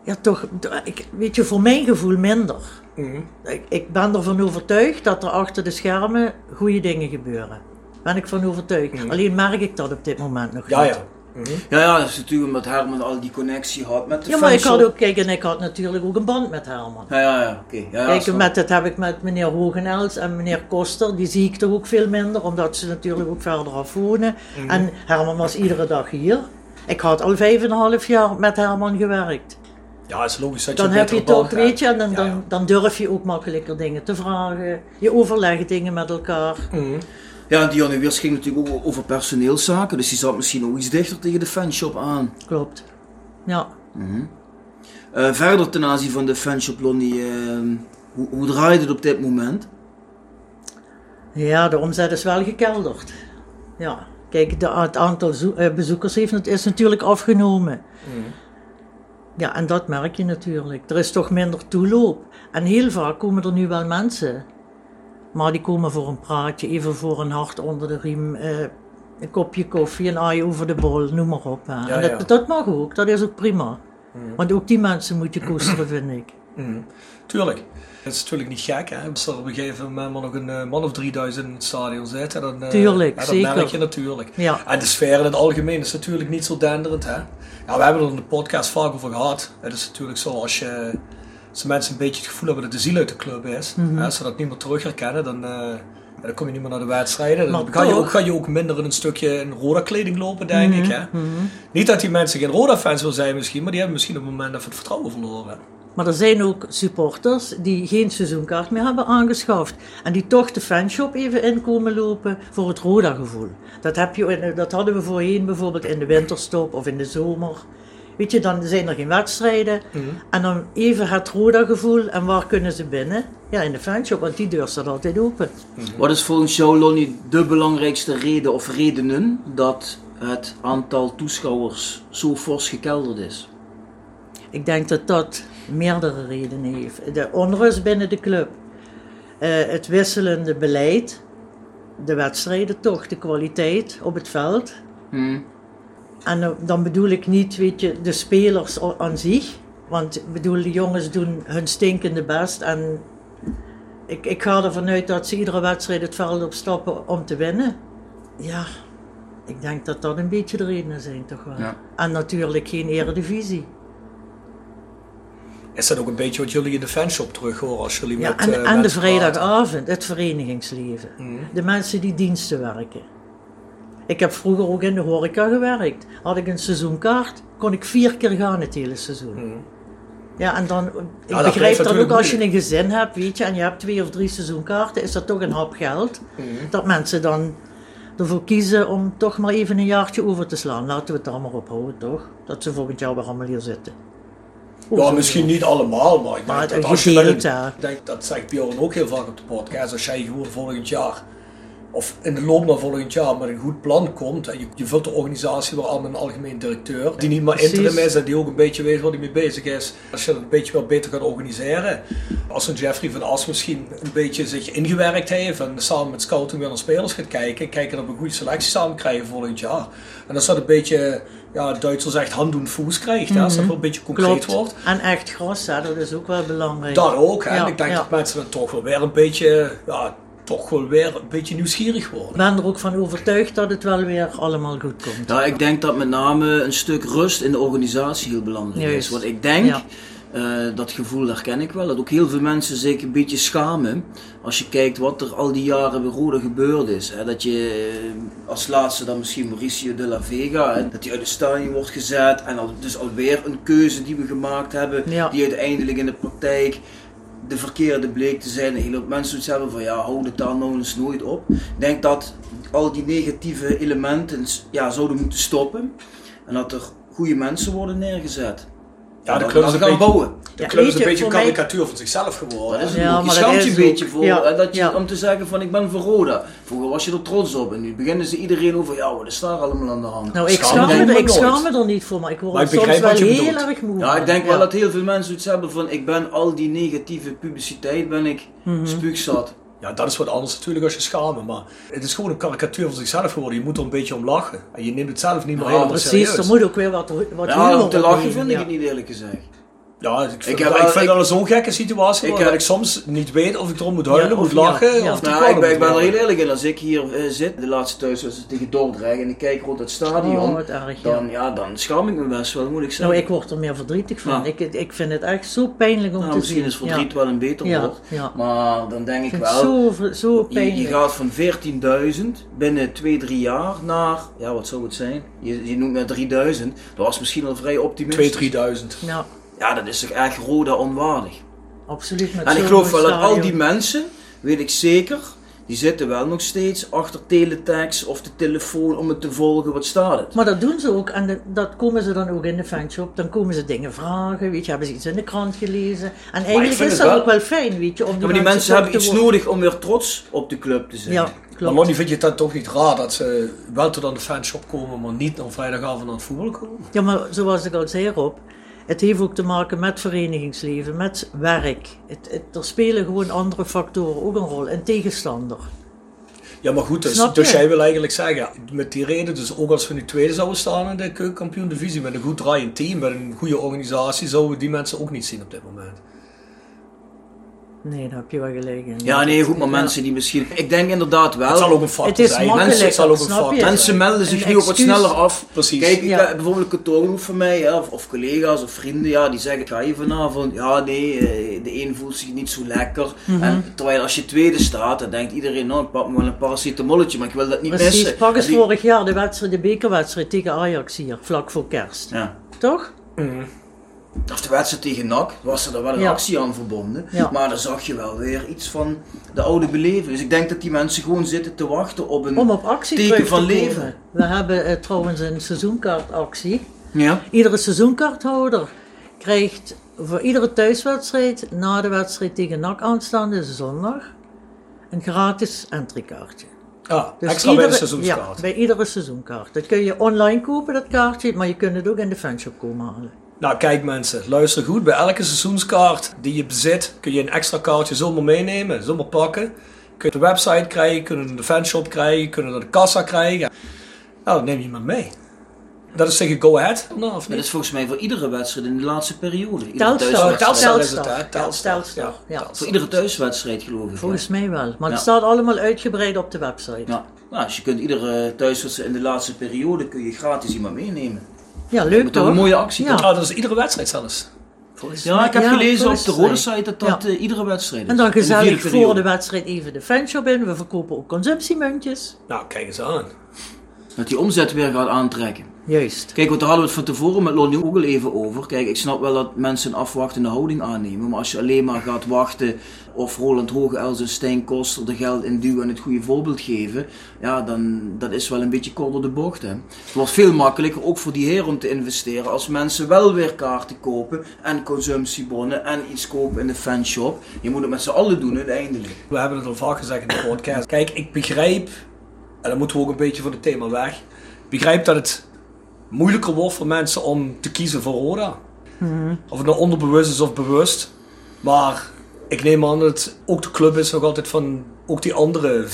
[SPEAKER 9] Ja, toch, d- ik, weet je, voor mijn gevoel minder.
[SPEAKER 8] Mhm.
[SPEAKER 9] Ik, ik ben ervan overtuigd dat er achter de schermen goede dingen gebeuren. Ben ik van overtuigd.
[SPEAKER 8] Mhm.
[SPEAKER 9] Alleen merk ik dat op dit moment nog
[SPEAKER 7] Ja,
[SPEAKER 9] niet.
[SPEAKER 7] ja.
[SPEAKER 8] Ja, ja, dat is natuurlijk omdat Herman al die connectie had met de
[SPEAKER 9] Ja, maar ik had
[SPEAKER 8] fanshow.
[SPEAKER 9] ook, kijk, en ik had natuurlijk ook een band met Herman.
[SPEAKER 8] Ja, ja, ja, oké. Ja, ja,
[SPEAKER 9] Kijk,
[SPEAKER 8] snap.
[SPEAKER 9] met, dat heb ik met meneer Hogenels en meneer Koster. Die zie ik toch ook veel minder, omdat ze natuurlijk ook verder af wonen.
[SPEAKER 8] Mhm.
[SPEAKER 9] En Herman was iedere dag hier. Ik had al vijf en een half jaar met Herman gewerkt.
[SPEAKER 7] Ja, is logisch dat
[SPEAKER 9] Dan
[SPEAKER 7] je
[SPEAKER 9] heb je toch, weet je, en dan,
[SPEAKER 7] Ja, ja.
[SPEAKER 9] dan, dan durf je ook makkelijker dingen te vragen. Je overlegt dingen met elkaar.
[SPEAKER 8] Ja, en Dionne Weers ging natuurlijk ook over personeelszaken, dus die zat misschien ook iets dichter tegen de fanshop aan.
[SPEAKER 9] Klopt. Ja.
[SPEAKER 8] Eh, verder ten aanzien van de fanshop, Lonnie, eh, hoe, hoe draait het op dit moment?
[SPEAKER 9] ja, de omzet is wel gekelderd. Ja. Kijk, de, het aantal zo- eh, bezoekers heeft, nat- is natuurlijk afgenomen.
[SPEAKER 7] Mm.
[SPEAKER 9] Ja, en dat merk je natuurlijk. Er is toch minder toeloop. En heel vaak komen er nu wel mensen. Maar die komen voor een praatje, even voor een hart onder de riem, eh, een kopje koffie, een aai over de bol, noem maar op. hè. en dat,
[SPEAKER 7] ja. Mm.
[SPEAKER 9] dat mag ook, dat is ook prima. Want ook die mensen moet je koesteren, vind ik.
[SPEAKER 7] Tuurlijk. Het is natuurlijk niet gek, hè. Als er op een gegeven moment maar nog een eh, man of 3000 in het stadion zit, hè, dan, eh,
[SPEAKER 9] Tuurlijk,
[SPEAKER 7] ja, dat
[SPEAKER 9] zeker.
[SPEAKER 7] merk je natuurlijk.
[SPEAKER 9] Ja.
[SPEAKER 7] En de sfeer in het algemeen is natuurlijk niet zo denderend, hè. Ja, we hebben er in de podcast vaak over gehad. Het is natuurlijk zo, als, je, als de mensen een beetje het gevoel hebben dat de ziel uit de club is,
[SPEAKER 9] Mhm.
[SPEAKER 7] hè, als ze dat niet meer terug herkennen, dan... eh, ja, dan kom je niet meer naar de wedstrijden. Dan
[SPEAKER 9] Maar
[SPEAKER 7] ga je,
[SPEAKER 9] toch- Mhm,
[SPEAKER 7] ook, ga je ook minder in een stukje in rode kleding lopen, denk ik. Hè? Niet dat die mensen geen Roda-fans wil zijn misschien, maar die hebben misschien op het moment even het vertrouwen verloren.
[SPEAKER 9] Maar er zijn ook supporters die geen seizoenkaart meer hebben aangeschaft. En die toch de fanshop even inkomen lopen voor het Roda-gevoel. Dat, heb je, in- dat hadden we voorheen bijvoorbeeld in de winterstop of in de zomer. Weet je, dan zijn er geen wedstrijden. En dan even het Roda-gevoel. En waar kunnen ze binnen? Ja, in de fanshop, want die deur staat altijd open.
[SPEAKER 8] Wat is volgens jou, Lonnie, de belangrijkste reden of redenen dat het aantal toeschouwers zo fors gekelderd is?
[SPEAKER 9] Ik denk dat dat meerdere redenen heeft. De onrust binnen de club, eh, het wisselende beleid, de wedstrijden toch, de kwaliteit op het veld. Hmm. En eh, dan bedoel ik niet, weet je, de spelers a- aan zich. Want ik bedoel, de jongens doen hun stinkende best. En ik, ik ga ervan uit dat ze iedere wedstrijd het veld opstappen om te winnen. Ja, ik denk dat dat een beetje de redenen zijn toch wel.
[SPEAKER 8] Ja.
[SPEAKER 9] En natuurlijk geen eredivisie.
[SPEAKER 7] Is dat ook een beetje wat jullie in de fanshop terug horen als jullie
[SPEAKER 9] Ja,
[SPEAKER 7] met
[SPEAKER 9] en,
[SPEAKER 7] eh,
[SPEAKER 9] en de
[SPEAKER 7] mensen praten? Mhm.
[SPEAKER 9] vrijdagavond, het verenigingsleven. De mensen die diensten werken. Ik heb vroeger ook in de horeca gewerkt. Had ik een seizoenkaart, kon ik vier keer gaan het hele seizoen. Ja, en dan, ik
[SPEAKER 7] Mhm. dat
[SPEAKER 9] begrijp
[SPEAKER 7] blijft
[SPEAKER 9] dat ook
[SPEAKER 7] natuurlijk
[SPEAKER 9] als je een
[SPEAKER 7] moeilijk.
[SPEAKER 9] gezin hebt, weet je, en je hebt twee of drie seizoenkaarten, is dat toch een hap geld.
[SPEAKER 7] Mhm.
[SPEAKER 9] Dat mensen dan ervoor kiezen om toch maar even een jaartje over te slaan. Laten we het daar maar op houden, toch? Dat ze volgend jaar weer allemaal hier zitten.
[SPEAKER 7] Ja, misschien niet allemaal, maar ik
[SPEAKER 9] Maar
[SPEAKER 7] denk
[SPEAKER 9] het
[SPEAKER 7] dat als je met
[SPEAKER 9] gedeelte,
[SPEAKER 7] een-
[SPEAKER 9] hè.
[SPEAKER 7] ik denk, dat zegt Bjorn ook heel vaak op de podcast, als jij gewoon volgend jaar, of in de loop van volgend jaar, met een goed plan komt, en je, je vult de organisatie weer aan met een algemeen directeur, die niet maar
[SPEAKER 9] Precies.
[SPEAKER 7] interim is en die ook een beetje weet waar hij mee bezig is. Als je dat een beetje wat beter gaat organiseren, als een Jeffrey van As misschien een beetje zich ingewerkt heeft en samen met scouting weer naar spelers gaat kijken, kijken dat we een goede selectie samen krijgen volgend jaar. En als dat een beetje, ja, Duitsers zegt hand doen voes krijgt, hè, als dat wel een beetje concreet
[SPEAKER 9] Mhm. Klopt.
[SPEAKER 7] wordt.
[SPEAKER 9] En echt gras, hè, dat is ook wel belangrijk.
[SPEAKER 7] Dat ook. hè. En
[SPEAKER 9] Ja,
[SPEAKER 7] ik denk
[SPEAKER 9] ja.
[SPEAKER 7] dat mensen dan toch wel weer een beetje, ja, toch wel weer een beetje nieuwsgierig
[SPEAKER 9] Ik
[SPEAKER 7] worden.
[SPEAKER 9] ben er ook van overtuigd dat het wel weer allemaal goed komt.
[SPEAKER 8] Ja, ik denk dat met name een stuk rust in de organisatie heel belangrijk is.
[SPEAKER 9] Juist.
[SPEAKER 8] Want ik denk,
[SPEAKER 9] Ja.
[SPEAKER 8] eh, dat gevoel herken ik wel, dat ook heel veel mensen zich een beetje schamen als je kijkt wat er al die jaren bij Roda gebeurd is. Hè. Dat je eh, als laatste dan misschien Mauricio de la Vega, hè, dat die uit de stadion wordt gezet. En al, dus alweer een keuze die we gemaakt hebben,
[SPEAKER 9] Ja.
[SPEAKER 8] die uiteindelijk in de praktijk de verkeerde bleek te zijn. Een hele hoop mensen zoiets hebben van ja, hou de taal nou eens nooit op. Ik denk dat al die negatieve elementen ja, zouden moeten stoppen. En dat er goede mensen worden neergezet.
[SPEAKER 7] Ja,
[SPEAKER 8] En
[SPEAKER 7] de
[SPEAKER 8] dat
[SPEAKER 7] club
[SPEAKER 8] we
[SPEAKER 7] is
[SPEAKER 8] dat
[SPEAKER 7] een
[SPEAKER 8] gaan
[SPEAKER 7] beetje-
[SPEAKER 8] bouwen.
[SPEAKER 7] De
[SPEAKER 9] Ja,
[SPEAKER 7] club is
[SPEAKER 9] weet
[SPEAKER 7] een
[SPEAKER 9] je,
[SPEAKER 7] beetje een
[SPEAKER 9] voor mij-
[SPEAKER 7] karikatuur van zichzelf geworden.
[SPEAKER 8] Dat is
[SPEAKER 7] hè.
[SPEAKER 8] het
[SPEAKER 9] Ja,
[SPEAKER 8] ook. Je
[SPEAKER 9] maar dat
[SPEAKER 8] schaamt je
[SPEAKER 9] is
[SPEAKER 8] een beetje
[SPEAKER 9] ook-
[SPEAKER 8] voor.
[SPEAKER 9] ja,
[SPEAKER 8] en dat je,
[SPEAKER 9] ja.
[SPEAKER 8] Om te zeggen van ik ben voor Roda. Vroeger was je er trots op. En nu beginnen ze iedereen over ja, wat is daar allemaal aan de hand.
[SPEAKER 9] Nou, ik
[SPEAKER 7] Schaam
[SPEAKER 9] schaam,
[SPEAKER 7] me
[SPEAKER 9] me,
[SPEAKER 7] maar
[SPEAKER 9] ik
[SPEAKER 7] nooit.
[SPEAKER 9] schaam me er niet voor, maar ik word
[SPEAKER 7] Maar
[SPEAKER 9] er
[SPEAKER 7] ik
[SPEAKER 9] soms
[SPEAKER 7] begrijp
[SPEAKER 9] wel
[SPEAKER 7] wat je
[SPEAKER 9] heel
[SPEAKER 7] bedoelt.
[SPEAKER 9] erg moe.
[SPEAKER 8] ja, ik
[SPEAKER 9] van.
[SPEAKER 8] denk wel
[SPEAKER 9] Ja. Mhm.
[SPEAKER 8] dat heel veel mensen iets hebben van ik ben al die negatieve publiciteit ben ik spuugzat.
[SPEAKER 7] Ja, dat is wat anders natuurlijk als je schamen, maar het is gewoon een karikatuur van zichzelf geworden. Je moet er een beetje om lachen en je neemt het zelf niet meer
[SPEAKER 9] Ja,
[SPEAKER 7] helemaal
[SPEAKER 9] precies.
[SPEAKER 7] serieus.
[SPEAKER 9] Er moet ook weer wat, wat
[SPEAKER 8] Ja,
[SPEAKER 9] humor
[SPEAKER 8] om te
[SPEAKER 9] omheen,
[SPEAKER 8] lachen vind ik
[SPEAKER 9] ja.
[SPEAKER 8] het niet eerlijk gezegd.
[SPEAKER 7] Ja, ik vind,
[SPEAKER 8] Ik heb
[SPEAKER 7] dat-
[SPEAKER 8] wel-
[SPEAKER 7] ik vind
[SPEAKER 8] ik-
[SPEAKER 7] dat zo'n gekke situatie
[SPEAKER 8] Ik
[SPEAKER 7] ik,
[SPEAKER 8] heb-
[SPEAKER 7] dat ik soms niet weet of ik erom moet huilen,
[SPEAKER 9] Ja,
[SPEAKER 7] moet
[SPEAKER 9] of-
[SPEAKER 7] lachen
[SPEAKER 9] ja, ja.
[SPEAKER 7] of te
[SPEAKER 8] Nou,
[SPEAKER 7] kwaad
[SPEAKER 8] ik ben, ik
[SPEAKER 7] moet
[SPEAKER 8] ben er
[SPEAKER 7] worden.
[SPEAKER 8] heel eerlijk in. Als ik hier eh, zit, de laatste thuiswedstrijd tegen Dordrecht, en ik kijk rond het
[SPEAKER 9] Oh,
[SPEAKER 8] stadion,
[SPEAKER 9] wat erg, ja.
[SPEAKER 8] dan, ja, dan schaam ik me best wel, moet ik
[SPEAKER 9] Nou,
[SPEAKER 8] zeggen.
[SPEAKER 9] ik word er meer verdrietig van.
[SPEAKER 8] Ja.
[SPEAKER 9] Ik, ik vind het echt zo pijnlijk om
[SPEAKER 8] Nou,
[SPEAKER 9] te
[SPEAKER 8] misschien
[SPEAKER 9] zien.
[SPEAKER 8] is verdriet
[SPEAKER 9] Ja.
[SPEAKER 8] wel een beter
[SPEAKER 9] Ja,
[SPEAKER 8] woord,
[SPEAKER 9] ja.
[SPEAKER 8] maar dan denk ik,
[SPEAKER 9] Ik vind het
[SPEAKER 8] wel,
[SPEAKER 9] zo, ver- zo
[SPEAKER 8] je, je
[SPEAKER 9] pijnlijk.
[SPEAKER 8] gaat van 14.000 binnen 2, 3 jaar naar, ja wat zou het zijn, je, je noemt net 3000, dat was misschien al vrij optimistisch.
[SPEAKER 7] 2000.
[SPEAKER 9] Ja,
[SPEAKER 8] Ja, dat is toch echt Roda onwaardig.
[SPEAKER 9] absoluut. met
[SPEAKER 8] En ik
[SPEAKER 9] zo'n
[SPEAKER 8] geloof wel dat al
[SPEAKER 9] stadion.
[SPEAKER 8] die mensen, weet ik zeker, die zitten wel nog steeds achter teletext of de telefoon om het te volgen, wat staat het?
[SPEAKER 9] Maar dat doen ze ook en de- dat komen ze dan ook in de fanshop. Dan komen ze dingen vragen, weet je, hebben ze iets in de krant gelezen. En eigenlijk
[SPEAKER 8] vind het
[SPEAKER 9] is dat
[SPEAKER 8] wel-
[SPEAKER 9] ook wel fijn, weet je, om die,
[SPEAKER 8] Ja, maar die mensen
[SPEAKER 9] toch
[SPEAKER 8] hebben
[SPEAKER 9] te
[SPEAKER 8] iets
[SPEAKER 9] worden-
[SPEAKER 8] nodig om weer trots op de club te zijn.
[SPEAKER 9] Ja,
[SPEAKER 7] Maar
[SPEAKER 9] klopt.
[SPEAKER 7] Lonnie, vind je het dan toch niet raar dat ze wel tot aan de fanshop komen, maar niet op vrijdagavond aan het voetbal komen?
[SPEAKER 9] Ja, maar zoals ik al zei, Rob, het heeft ook te maken met verenigingsleven, met werk. Het, het, er spelen gewoon andere factoren ook een rol, en tegenstander.
[SPEAKER 7] Ja, maar goed, dus,
[SPEAKER 9] Snap
[SPEAKER 7] dus
[SPEAKER 9] je?
[SPEAKER 7] jij wil eigenlijk zeggen, met die reden, dus ook als we nu tweede zouden staan in de keukenkampioen divisie, met een goed draaiend team, met een goede organisatie, zouden we die mensen ook niet zien op dit moment.
[SPEAKER 9] Nee, daar heb je wel gelijk in.
[SPEAKER 8] Ja, nee, goed, maar mensen die misschien... Ik denk inderdaad wel...
[SPEAKER 7] Het zal ook een factor
[SPEAKER 9] Het is
[SPEAKER 7] zijn.
[SPEAKER 9] makkelijk,
[SPEAKER 7] Mensen- het zal ook een
[SPEAKER 9] snap je?
[SPEAKER 7] factor zijn.
[SPEAKER 8] Mensen melden zich
[SPEAKER 9] Een
[SPEAKER 8] nu ook wat
[SPEAKER 9] excuus.
[SPEAKER 8] sneller af.
[SPEAKER 7] Precies.
[SPEAKER 8] Kijk, ik
[SPEAKER 9] Ja.
[SPEAKER 8] heb bijvoorbeeld een kantoorgroep van mij, hè, of, of collega's of vrienden, ja, die zeggen: ga je vanavond? Ja, nee, eh, de een voelt zich niet zo lekker.
[SPEAKER 9] Mhm.
[SPEAKER 8] en, terwijl als je tweede staat, dan denkt iedereen: nou, ik pak me wel een paracetamolletje, maar ik wil dat niet
[SPEAKER 9] Precies,
[SPEAKER 8] missen.
[SPEAKER 9] pak eens
[SPEAKER 8] En die-
[SPEAKER 9] vorig jaar de, wedstrijd, de bekerwedstrijd tegen Ajax hier, vlak voor kerst.
[SPEAKER 8] Ja.
[SPEAKER 9] Toch?
[SPEAKER 8] Of de wedstrijd tegen NAC was er dan wel een
[SPEAKER 9] Ja.
[SPEAKER 8] actie aan verbonden.
[SPEAKER 9] Ja.
[SPEAKER 8] Maar dan zag je wel weer iets van de oude beleving. Dus ik denk dat die mensen gewoon zitten te wachten op een
[SPEAKER 9] Om op actie
[SPEAKER 8] teken
[SPEAKER 9] terug te
[SPEAKER 8] van
[SPEAKER 9] komen.
[SPEAKER 8] leven.
[SPEAKER 9] We hebben eh, trouwens een seizoenkaartactie.
[SPEAKER 8] Ja.
[SPEAKER 9] Iedere seizoenkaarthouder krijgt voor iedere thuiswedstrijd na de wedstrijd tegen NAC aanstaande zondag een gratis entreekaartje.
[SPEAKER 7] Ja, extra bij de seizoenskaart.
[SPEAKER 9] dus Ja, bij iedere seizoenkaart. Dat kun je online kopen, dat kaartje, maar je kunt het ook in de fanshop komen halen.
[SPEAKER 7] Nou, kijk mensen, luister goed. Bij elke seizoenskaart die je bezit, kun je een extra kaartje zomaar meenemen, zomaar pakken. Kun je op de website krijgen, kun je het in de fanshop krijgen, kun je het aan de kassa krijgen. Nou, dat neem je maar mee. Dat is tegen Go Ahead, nou, of
[SPEAKER 8] Dat
[SPEAKER 7] niet?
[SPEAKER 8] is volgens mij voor iedere wedstrijd in de laatste periode. Iedere
[SPEAKER 9] Telstar.
[SPEAKER 8] thuiswedstrijd.
[SPEAKER 7] Telstar is het, hè?
[SPEAKER 9] Ja,
[SPEAKER 7] Telstar.
[SPEAKER 9] Telstar,
[SPEAKER 7] Ja,
[SPEAKER 9] ja.
[SPEAKER 8] Voor iedere thuiswedstrijd geloof ik. ja.
[SPEAKER 9] Volgens mij wel. Maar
[SPEAKER 8] Ja.
[SPEAKER 9] het staat allemaal uitgebreid op de website.
[SPEAKER 8] Ja. Nou, dus je kunt iedere thuiswedstrijd in de laatste periode kun je gratis iemand meenemen.
[SPEAKER 9] Ja, leuk
[SPEAKER 8] Moet toch
[SPEAKER 9] toch?
[SPEAKER 8] een mooie actie
[SPEAKER 9] Ja.
[SPEAKER 8] toch?
[SPEAKER 7] Ah, dat is iedere wedstrijd zelfs.
[SPEAKER 8] Ja, ik heb
[SPEAKER 9] Ja,
[SPEAKER 8] gelezen op de
[SPEAKER 9] volgens
[SPEAKER 8] rode
[SPEAKER 9] mij.
[SPEAKER 8] site dat dat
[SPEAKER 9] Ja.
[SPEAKER 8] eh, iedere wedstrijd is.
[SPEAKER 9] En dan
[SPEAKER 8] In de
[SPEAKER 9] gezellig
[SPEAKER 8] vierde
[SPEAKER 9] voor
[SPEAKER 8] periode.
[SPEAKER 9] de wedstrijd even de fanshop in. We verkopen ook consumptiemuntjes.
[SPEAKER 7] Nou, kijk eens aan.
[SPEAKER 8] Dat die omzet weer gaat aantrekken.
[SPEAKER 9] Juist.
[SPEAKER 8] Kijk, want daar hadden we het van tevoren met Lonnie ook al even over. Kijk, ik snap wel dat mensen een afwachtende houding aannemen. Maar als je alleen maar gaat wachten of Roland Hoogels en Stijn Koster de geld induwen en het goede voorbeeld geven. Ja, dan dat is wel een beetje kort door de bocht. Hè. Het wordt veel makkelijker ook voor die heer om te investeren. Als mensen wel weer kaarten kopen en consumptiebonnen en iets kopen in de fanshop. Je moet het met z'n allen doen uiteindelijk.
[SPEAKER 7] We hebben het al vaak gezegd in de podcast. Kijk, ik begrijp, en dan moeten we ook een beetje van het thema weg. Ik begrijp dat het moeilijker wordt voor mensen om te kiezen voor Roda. Of het nou onderbewust is of bewust. Maar ik neem aan dat het ook de club is nog altijd van ook die andere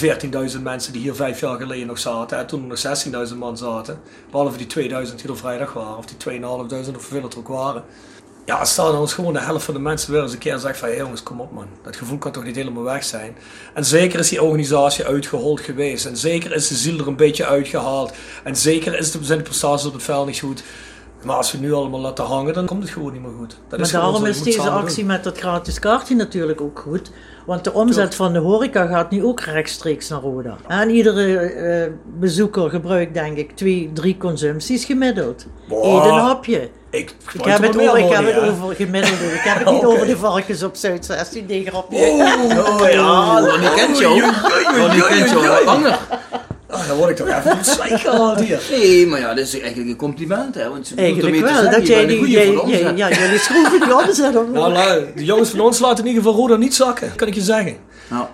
[SPEAKER 7] 14.000 mensen die hier vijf jaar geleden nog zaten. En toen er nog 16.000 man zaten. Behalve die 2000 die er vrijdag waren. Of die 2.500 of veel het er ook waren. Ja, als daar dan eens gewoon de helft van de mensen weer eens een keer zegt van... Hé jongens, kom op man. Dat gevoel kan toch niet helemaal weg zijn? En zeker is die organisatie uitgehold geweest. En zeker is de ziel er een beetje uitgehaald. En zeker is de, zijn de prestaties op het veld niet goed. Maar als we het nu allemaal laten hangen, dan komt het gewoon niet meer goed. Dat
[SPEAKER 8] Dus
[SPEAKER 9] Maar
[SPEAKER 7] is gewoon
[SPEAKER 9] daarom
[SPEAKER 7] zo, je
[SPEAKER 9] is
[SPEAKER 7] moet
[SPEAKER 9] deze
[SPEAKER 7] samen doen.
[SPEAKER 9] actie met dat gratis kaartje natuurlijk ook goed. Want de omzet van de horeca gaat nu ook rechtstreeks naar Roda. En iedere eh, bezoeker gebruikt denk ik twee, drie consumpties gemiddeld.
[SPEAKER 7] Wow.
[SPEAKER 9] Eet een hapje.
[SPEAKER 7] Ik,
[SPEAKER 9] Ik heb, het over, ik heb het
[SPEAKER 7] over.
[SPEAKER 9] over gemiddelde. Ik
[SPEAKER 8] *laughs*
[SPEAKER 9] heb het niet
[SPEAKER 7] Oké.
[SPEAKER 9] over de varkens op Zuid 16 tegen op.
[SPEAKER 7] Oh ja,
[SPEAKER 8] Lonnie kent jou. Lonnie kent jou al langer.
[SPEAKER 7] Ah, dan word ik toch even goed slecht gehaald hier.
[SPEAKER 8] Nee, maar ja, dat is eigenlijk een compliment, hè? Want ze bedoelt
[SPEAKER 9] Eigenlijk
[SPEAKER 8] ermee te
[SPEAKER 9] wel.
[SPEAKER 8] zeggen,
[SPEAKER 9] Dat
[SPEAKER 8] je
[SPEAKER 9] jij
[SPEAKER 8] bent een
[SPEAKER 9] die,
[SPEAKER 8] goeie voor de
[SPEAKER 9] jij- jij-
[SPEAKER 8] omzet.
[SPEAKER 9] ja, jullie schroeven die omzet
[SPEAKER 7] Nou,
[SPEAKER 9] omhoog.
[SPEAKER 7] lui, de jongens van ons laten in ieder geval Roda niet zakken, kan ik je zeggen.
[SPEAKER 8] Ja.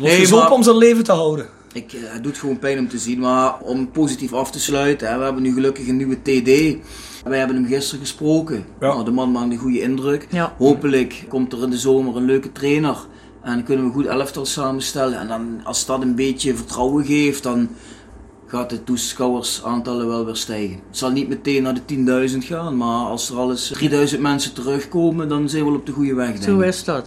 [SPEAKER 7] Nee,
[SPEAKER 8] Nee,
[SPEAKER 7] is op
[SPEAKER 8] maar-
[SPEAKER 7] om zijn leven te houden.
[SPEAKER 8] Ik, eh, het doet gewoon pijn om te zien, maar om positief af te sluiten, hè, we hebben nu gelukkig een nieuwe TD. Wij hebben hem gisteren gesproken.
[SPEAKER 7] Ja.
[SPEAKER 8] Nou, de man maakt een goede indruk.
[SPEAKER 9] Ja.
[SPEAKER 8] Hopelijk komt er in de zomer een leuke trainer. En dan kunnen we een goed elftal samenstellen. En dan, als dat een beetje vertrouwen geeft, dan gaat de toeschouwersaantallen wel weer stijgen. Het zal niet meteen naar de 10.000 gaan, maar als er al eens 3000 mensen terugkomen, dan zijn we wel op de goede weg, denk ik.
[SPEAKER 9] Zo is dat.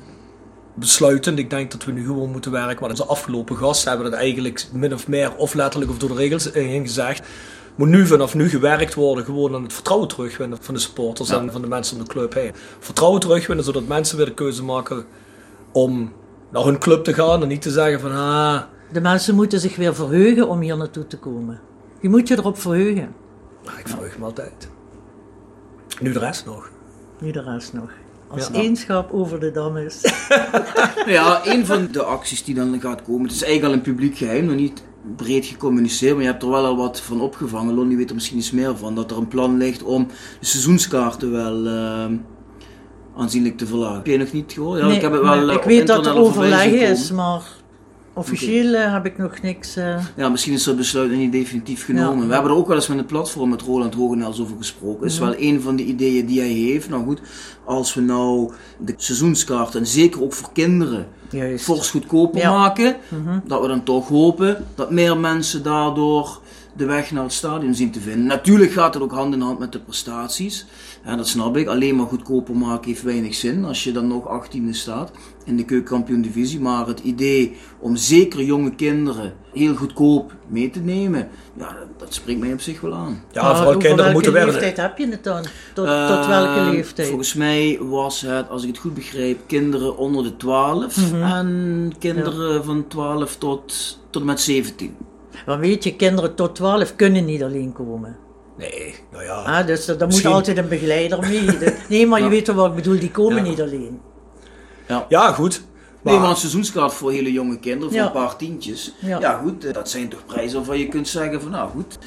[SPEAKER 7] besluitend. Ik denk dat we nu gewoon moeten werken. Want onze afgelopen gasten hebben dat eigenlijk min of meer of letterlijk of door de regels eh, heen gezegd. Moet nu vanaf nu gewerkt worden gewoon aan het vertrouwen terugwinnen van de supporters en van de mensen om de club heen. Vertrouwen terugwinnen zodat mensen weer de keuze maken om naar hun club te gaan en niet te zeggen van ah,
[SPEAKER 9] De mensen moeten zich weer verheugen om hier naartoe te komen. Je moet je erop verheugen.
[SPEAKER 7] Ah, ik verheug me altijd. Nu de rest nog.
[SPEAKER 9] Nu de rest nog. Als
[SPEAKER 7] Ja.
[SPEAKER 9] eenschap over de dam is.
[SPEAKER 8] Nou ja, een van de acties die dan gaat komen, het is eigenlijk al een publiek geheim, nog niet breed gecommuniceerd, maar je hebt er wel al wat van opgevangen. Lonnie weet er misschien iets meer van, dat er een plan ligt om de seizoenskaarten wel ehm, aanzienlijk te verlagen. Heb je nog niet gehoord? Ja,
[SPEAKER 9] Nee,
[SPEAKER 8] ik heb het wel
[SPEAKER 9] maar
[SPEAKER 8] eh,
[SPEAKER 9] ik
[SPEAKER 8] op
[SPEAKER 9] weet dat er
[SPEAKER 8] internet al voorbij
[SPEAKER 9] overleg
[SPEAKER 8] zien komen.
[SPEAKER 9] is, maar officieel eh, heb ik nog niks. eh,
[SPEAKER 8] Ja, misschien is dat besluit nog niet definitief genomen.
[SPEAKER 9] Ja.
[SPEAKER 8] We hebben er ook wel eens met een platform met Roland Hogenels over gesproken. Dat is
[SPEAKER 9] Mhm.
[SPEAKER 8] wel een van de ideeën die hij heeft. Nou goed, als we nou de seizoenskaarten, en zeker ook voor kinderen,
[SPEAKER 9] juist.
[SPEAKER 8] fors goedkoper
[SPEAKER 9] Ja.
[SPEAKER 8] maken.
[SPEAKER 9] Mhm.
[SPEAKER 8] Dat we dan toch hopen dat meer mensen daardoor de weg naar het stadion zien te vinden. Natuurlijk gaat het ook hand in hand met de prestaties. Ja, dat snap ik. Alleen maar goedkoper maken heeft weinig zin als je dan nog 18e staat in de keukenkampioen divisie. Maar het idee om zeker jonge kinderen heel goedkoop mee te nemen, ja, dat spreekt mij op zich wel aan.
[SPEAKER 7] Ja,
[SPEAKER 9] Maar
[SPEAKER 7] vooral
[SPEAKER 9] over
[SPEAKER 7] kinderen moeten
[SPEAKER 9] welke
[SPEAKER 7] werken.
[SPEAKER 9] leeftijd heb je het dan? Tot, tot welke
[SPEAKER 8] Ehm,
[SPEAKER 9] leeftijd?
[SPEAKER 8] Volgens mij was het, als ik het goed begreep, kinderen onder de 12
[SPEAKER 9] Mhm.
[SPEAKER 8] en kinderen van 12 tot, tot en met 17.
[SPEAKER 9] Want weet je, kinderen tot 12 kunnen niet alleen komen.
[SPEAKER 7] Nee, nou ja.
[SPEAKER 9] Ah, dus er, er moet
[SPEAKER 7] Misschien-
[SPEAKER 9] altijd een begeleider
[SPEAKER 8] *laughs*
[SPEAKER 9] mee. De- nee, maar je weet toch wat ik bedoel, die komen
[SPEAKER 7] Ja.
[SPEAKER 9] niet alleen.
[SPEAKER 7] Ja, goed. Maar,
[SPEAKER 8] Nee, maar een seizoenskaart voor hele jonge kinderen, voor
[SPEAKER 9] Ja.
[SPEAKER 8] een paar tientjes.
[SPEAKER 9] Ja.
[SPEAKER 8] Ja. goed, eh, dat zijn toch prijzen waarvan je kunt zeggen van nou goed.
[SPEAKER 9] En
[SPEAKER 8] dat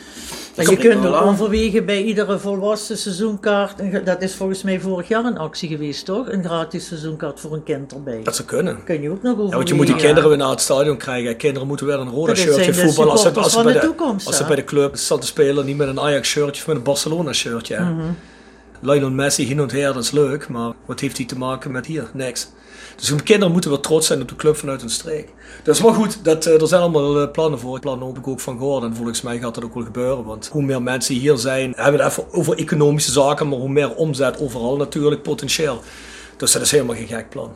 [SPEAKER 9] je
[SPEAKER 8] spreekt me
[SPEAKER 9] kunt
[SPEAKER 8] wel
[SPEAKER 9] er
[SPEAKER 8] aan.
[SPEAKER 9] overwegen bij iedere volwassen seizoenkaart. een ge- Dat is volgens mij vorig jaar een actie geweest, toch? Een gratis seizoenkaart voor een kind erbij.
[SPEAKER 7] dat ze kunnen.
[SPEAKER 9] kun je ook nog
[SPEAKER 7] Ja,
[SPEAKER 9] overwegen.
[SPEAKER 7] want je moet die kinderen weer naar het stadion krijgen. Kinderen moeten weer een rode
[SPEAKER 9] Dat zijn
[SPEAKER 7] shirtje
[SPEAKER 9] de
[SPEAKER 7] voetballen. Als ze,
[SPEAKER 9] supporters
[SPEAKER 7] als, ze
[SPEAKER 9] van
[SPEAKER 7] bij de,
[SPEAKER 9] de toekomst,
[SPEAKER 7] als ze
[SPEAKER 9] hè?
[SPEAKER 7] bij de club staan te spelen, niet met een Ajax shirtje of met een Barcelona shirtje. hè.
[SPEAKER 9] Mhm.
[SPEAKER 7] Lionel Messi hin en her, dat is leuk, maar wat heeft hij te maken met hier? Niks. Dus hun kinderen moeten wel trots zijn op de club vanuit hun streek. Dus maar goed, dat, eh, er zijn allemaal eh, plannen voor. Plannen hoop ik ook van gehoord. En volgens mij gaat dat ook wel gebeuren. Want hoe meer mensen hier zijn, hebben we het even over economische zaken, maar hoe meer omzet overal natuurlijk potentieel. Dus dat is helemaal geen gek plan.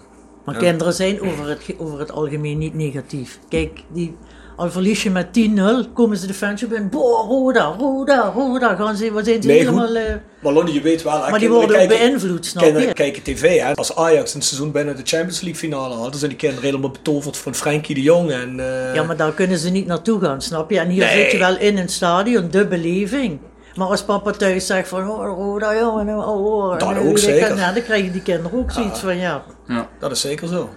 [SPEAKER 9] Maar kinderen zijn over het, ge- over het algemeen niet negatief. Kijk, die, al verlies je met 10-0, komen ze de fansje binnen. Boah, Roda, Roda, Roda. Gaan ze, wat zijn ze
[SPEAKER 7] Nee, goed.
[SPEAKER 9] helemaal... eh,
[SPEAKER 7] Maar Lonnie, je weet wel... hè,
[SPEAKER 9] Maar die
[SPEAKER 7] kinderen
[SPEAKER 9] worden ook
[SPEAKER 7] kijken-
[SPEAKER 9] beïnvloed, snap
[SPEAKER 7] Kinderen
[SPEAKER 9] je?
[SPEAKER 7] kijken tv, hè. Als Ajax een seizoen bijna de Champions League finale had, dan zijn die kinderen helemaal betoverd van Frenkie de Jong en... eh,
[SPEAKER 9] Ja, maar daar kunnen ze niet naartoe gaan, snap je? En hier
[SPEAKER 7] Nee.
[SPEAKER 9] zit je wel in een stadion, de beleving. Maar als papa thuis zegt van, oh, Roda, jongen, oh, oh.
[SPEAKER 7] Dat
[SPEAKER 9] en,
[SPEAKER 7] ook
[SPEAKER 9] eh,
[SPEAKER 7] zeker.
[SPEAKER 9] kan- ja, dan krijgen die kinderen ook zoiets van, ja.
[SPEAKER 7] Dat is zeker zo.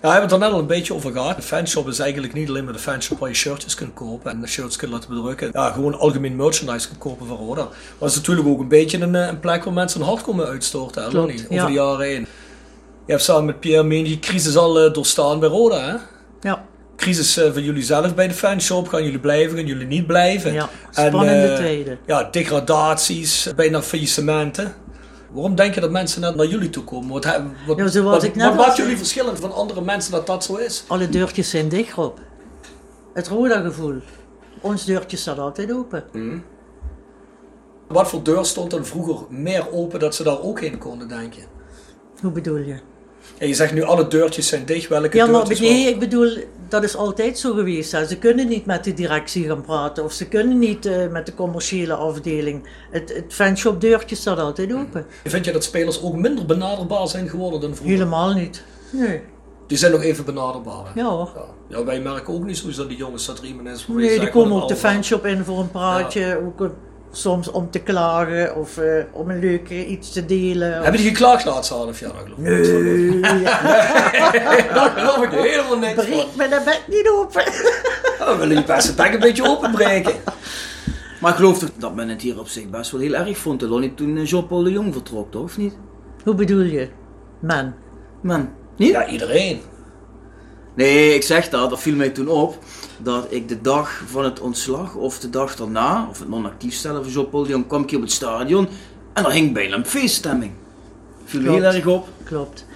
[SPEAKER 7] Nou, we hebben het er net al een beetje over gehad. De fanshop is eigenlijk niet alleen maar de fanshop waar je shirtjes kunt kopen en de shirts kunt laten bedrukken. Ja, gewoon algemeen merchandise kunt kopen van Roda. Maar het is natuurlijk ook een beetje een, eh, een plek waar mensen hun hart komen uitstorten, hè,
[SPEAKER 9] Klopt,
[SPEAKER 7] Lonnie, over
[SPEAKER 9] ja.
[SPEAKER 7] de jaren heen. Je hebt samen met Pierre Meen die crisis al eh, doorstaan bij Roda, hè?
[SPEAKER 9] Ja,
[SPEAKER 7] crisis eh, van jullie zelf bij de fanshop. Gaan jullie blijven, gaan jullie niet blijven?
[SPEAKER 9] Ja, spannende
[SPEAKER 7] eh,
[SPEAKER 9] tijden.
[SPEAKER 7] Ja, degradaties, eh, bijna faillissementen. Waarom denk je dat mensen net naar jullie toe komen? Wat, hebben- wat,
[SPEAKER 9] Ja, zoals
[SPEAKER 7] wat,
[SPEAKER 9] ik net
[SPEAKER 7] wat
[SPEAKER 9] al
[SPEAKER 7] maakt
[SPEAKER 9] zei.
[SPEAKER 7] jullie verschillend van andere mensen dat dat zo is?
[SPEAKER 9] alle deurtjes zijn dicht, Rob. Het Roda-gevoel. Ons deurtje staat altijd open.
[SPEAKER 7] Wat voor deur stond dan vroeger meer open dat ze daar ook heen konden, denk je?
[SPEAKER 9] Hoe bedoel je?
[SPEAKER 7] En je zegt nu alle deurtjes zijn dicht, welke
[SPEAKER 9] Ja, maar
[SPEAKER 7] deurtjes
[SPEAKER 9] nee,
[SPEAKER 7] wel?
[SPEAKER 9] ik bedoel, dat is altijd zo geweest. Hè. Ze kunnen niet met de directie gaan praten of ze kunnen niet eh, met de commerciële afdeling. Het, het fanshop deurtje staat altijd open.
[SPEAKER 7] Vind je dat spelers ook minder benaderbaar zijn geworden dan vroeger?
[SPEAKER 9] Helemaal niet. Nee.
[SPEAKER 7] Die zijn nog even benaderbaar. hè?
[SPEAKER 9] Ja hoor.
[SPEAKER 7] Ja. Ja, wij merken ook niet zo dat die jongens dat riemen is. voor
[SPEAKER 9] Nee,
[SPEAKER 7] je
[SPEAKER 9] die
[SPEAKER 7] zeggen,
[SPEAKER 9] komen op de
[SPEAKER 7] allemaal.
[SPEAKER 9] fanshop in voor een praatje. Ook eh, soms om te klagen of eh, om een leuke iets te delen. Of-
[SPEAKER 7] Hebben die geklaagd laatste half jaar? geloof ik? *laughs* Daar geloof ik helemaal niks van.
[SPEAKER 9] Breek me de bek niet open. *laughs*
[SPEAKER 7] Ja, we willen die beste bek een beetje openbreken.
[SPEAKER 8] Maar ik geloof toch dat men het hier op zich best wel heel erg vond, hè, Lonnie, toen eh, Jean-Paul de Jong vertrok, toch? Of niet?
[SPEAKER 9] Hoe bedoel je? Man.
[SPEAKER 8] Man, niet?
[SPEAKER 7] Ja, iedereen.
[SPEAKER 8] Nee, ik zeg dat, dat viel mij toen op. Dat ik de dag van het ontslag of de dag daarna, of het non-actief stellen van Jean-Paul de Jong, kwam ik hier op het stadion en er hing bijna een feeststemming. Viel me
[SPEAKER 9] Klopt.
[SPEAKER 8] heel erg op.
[SPEAKER 9] Klopt.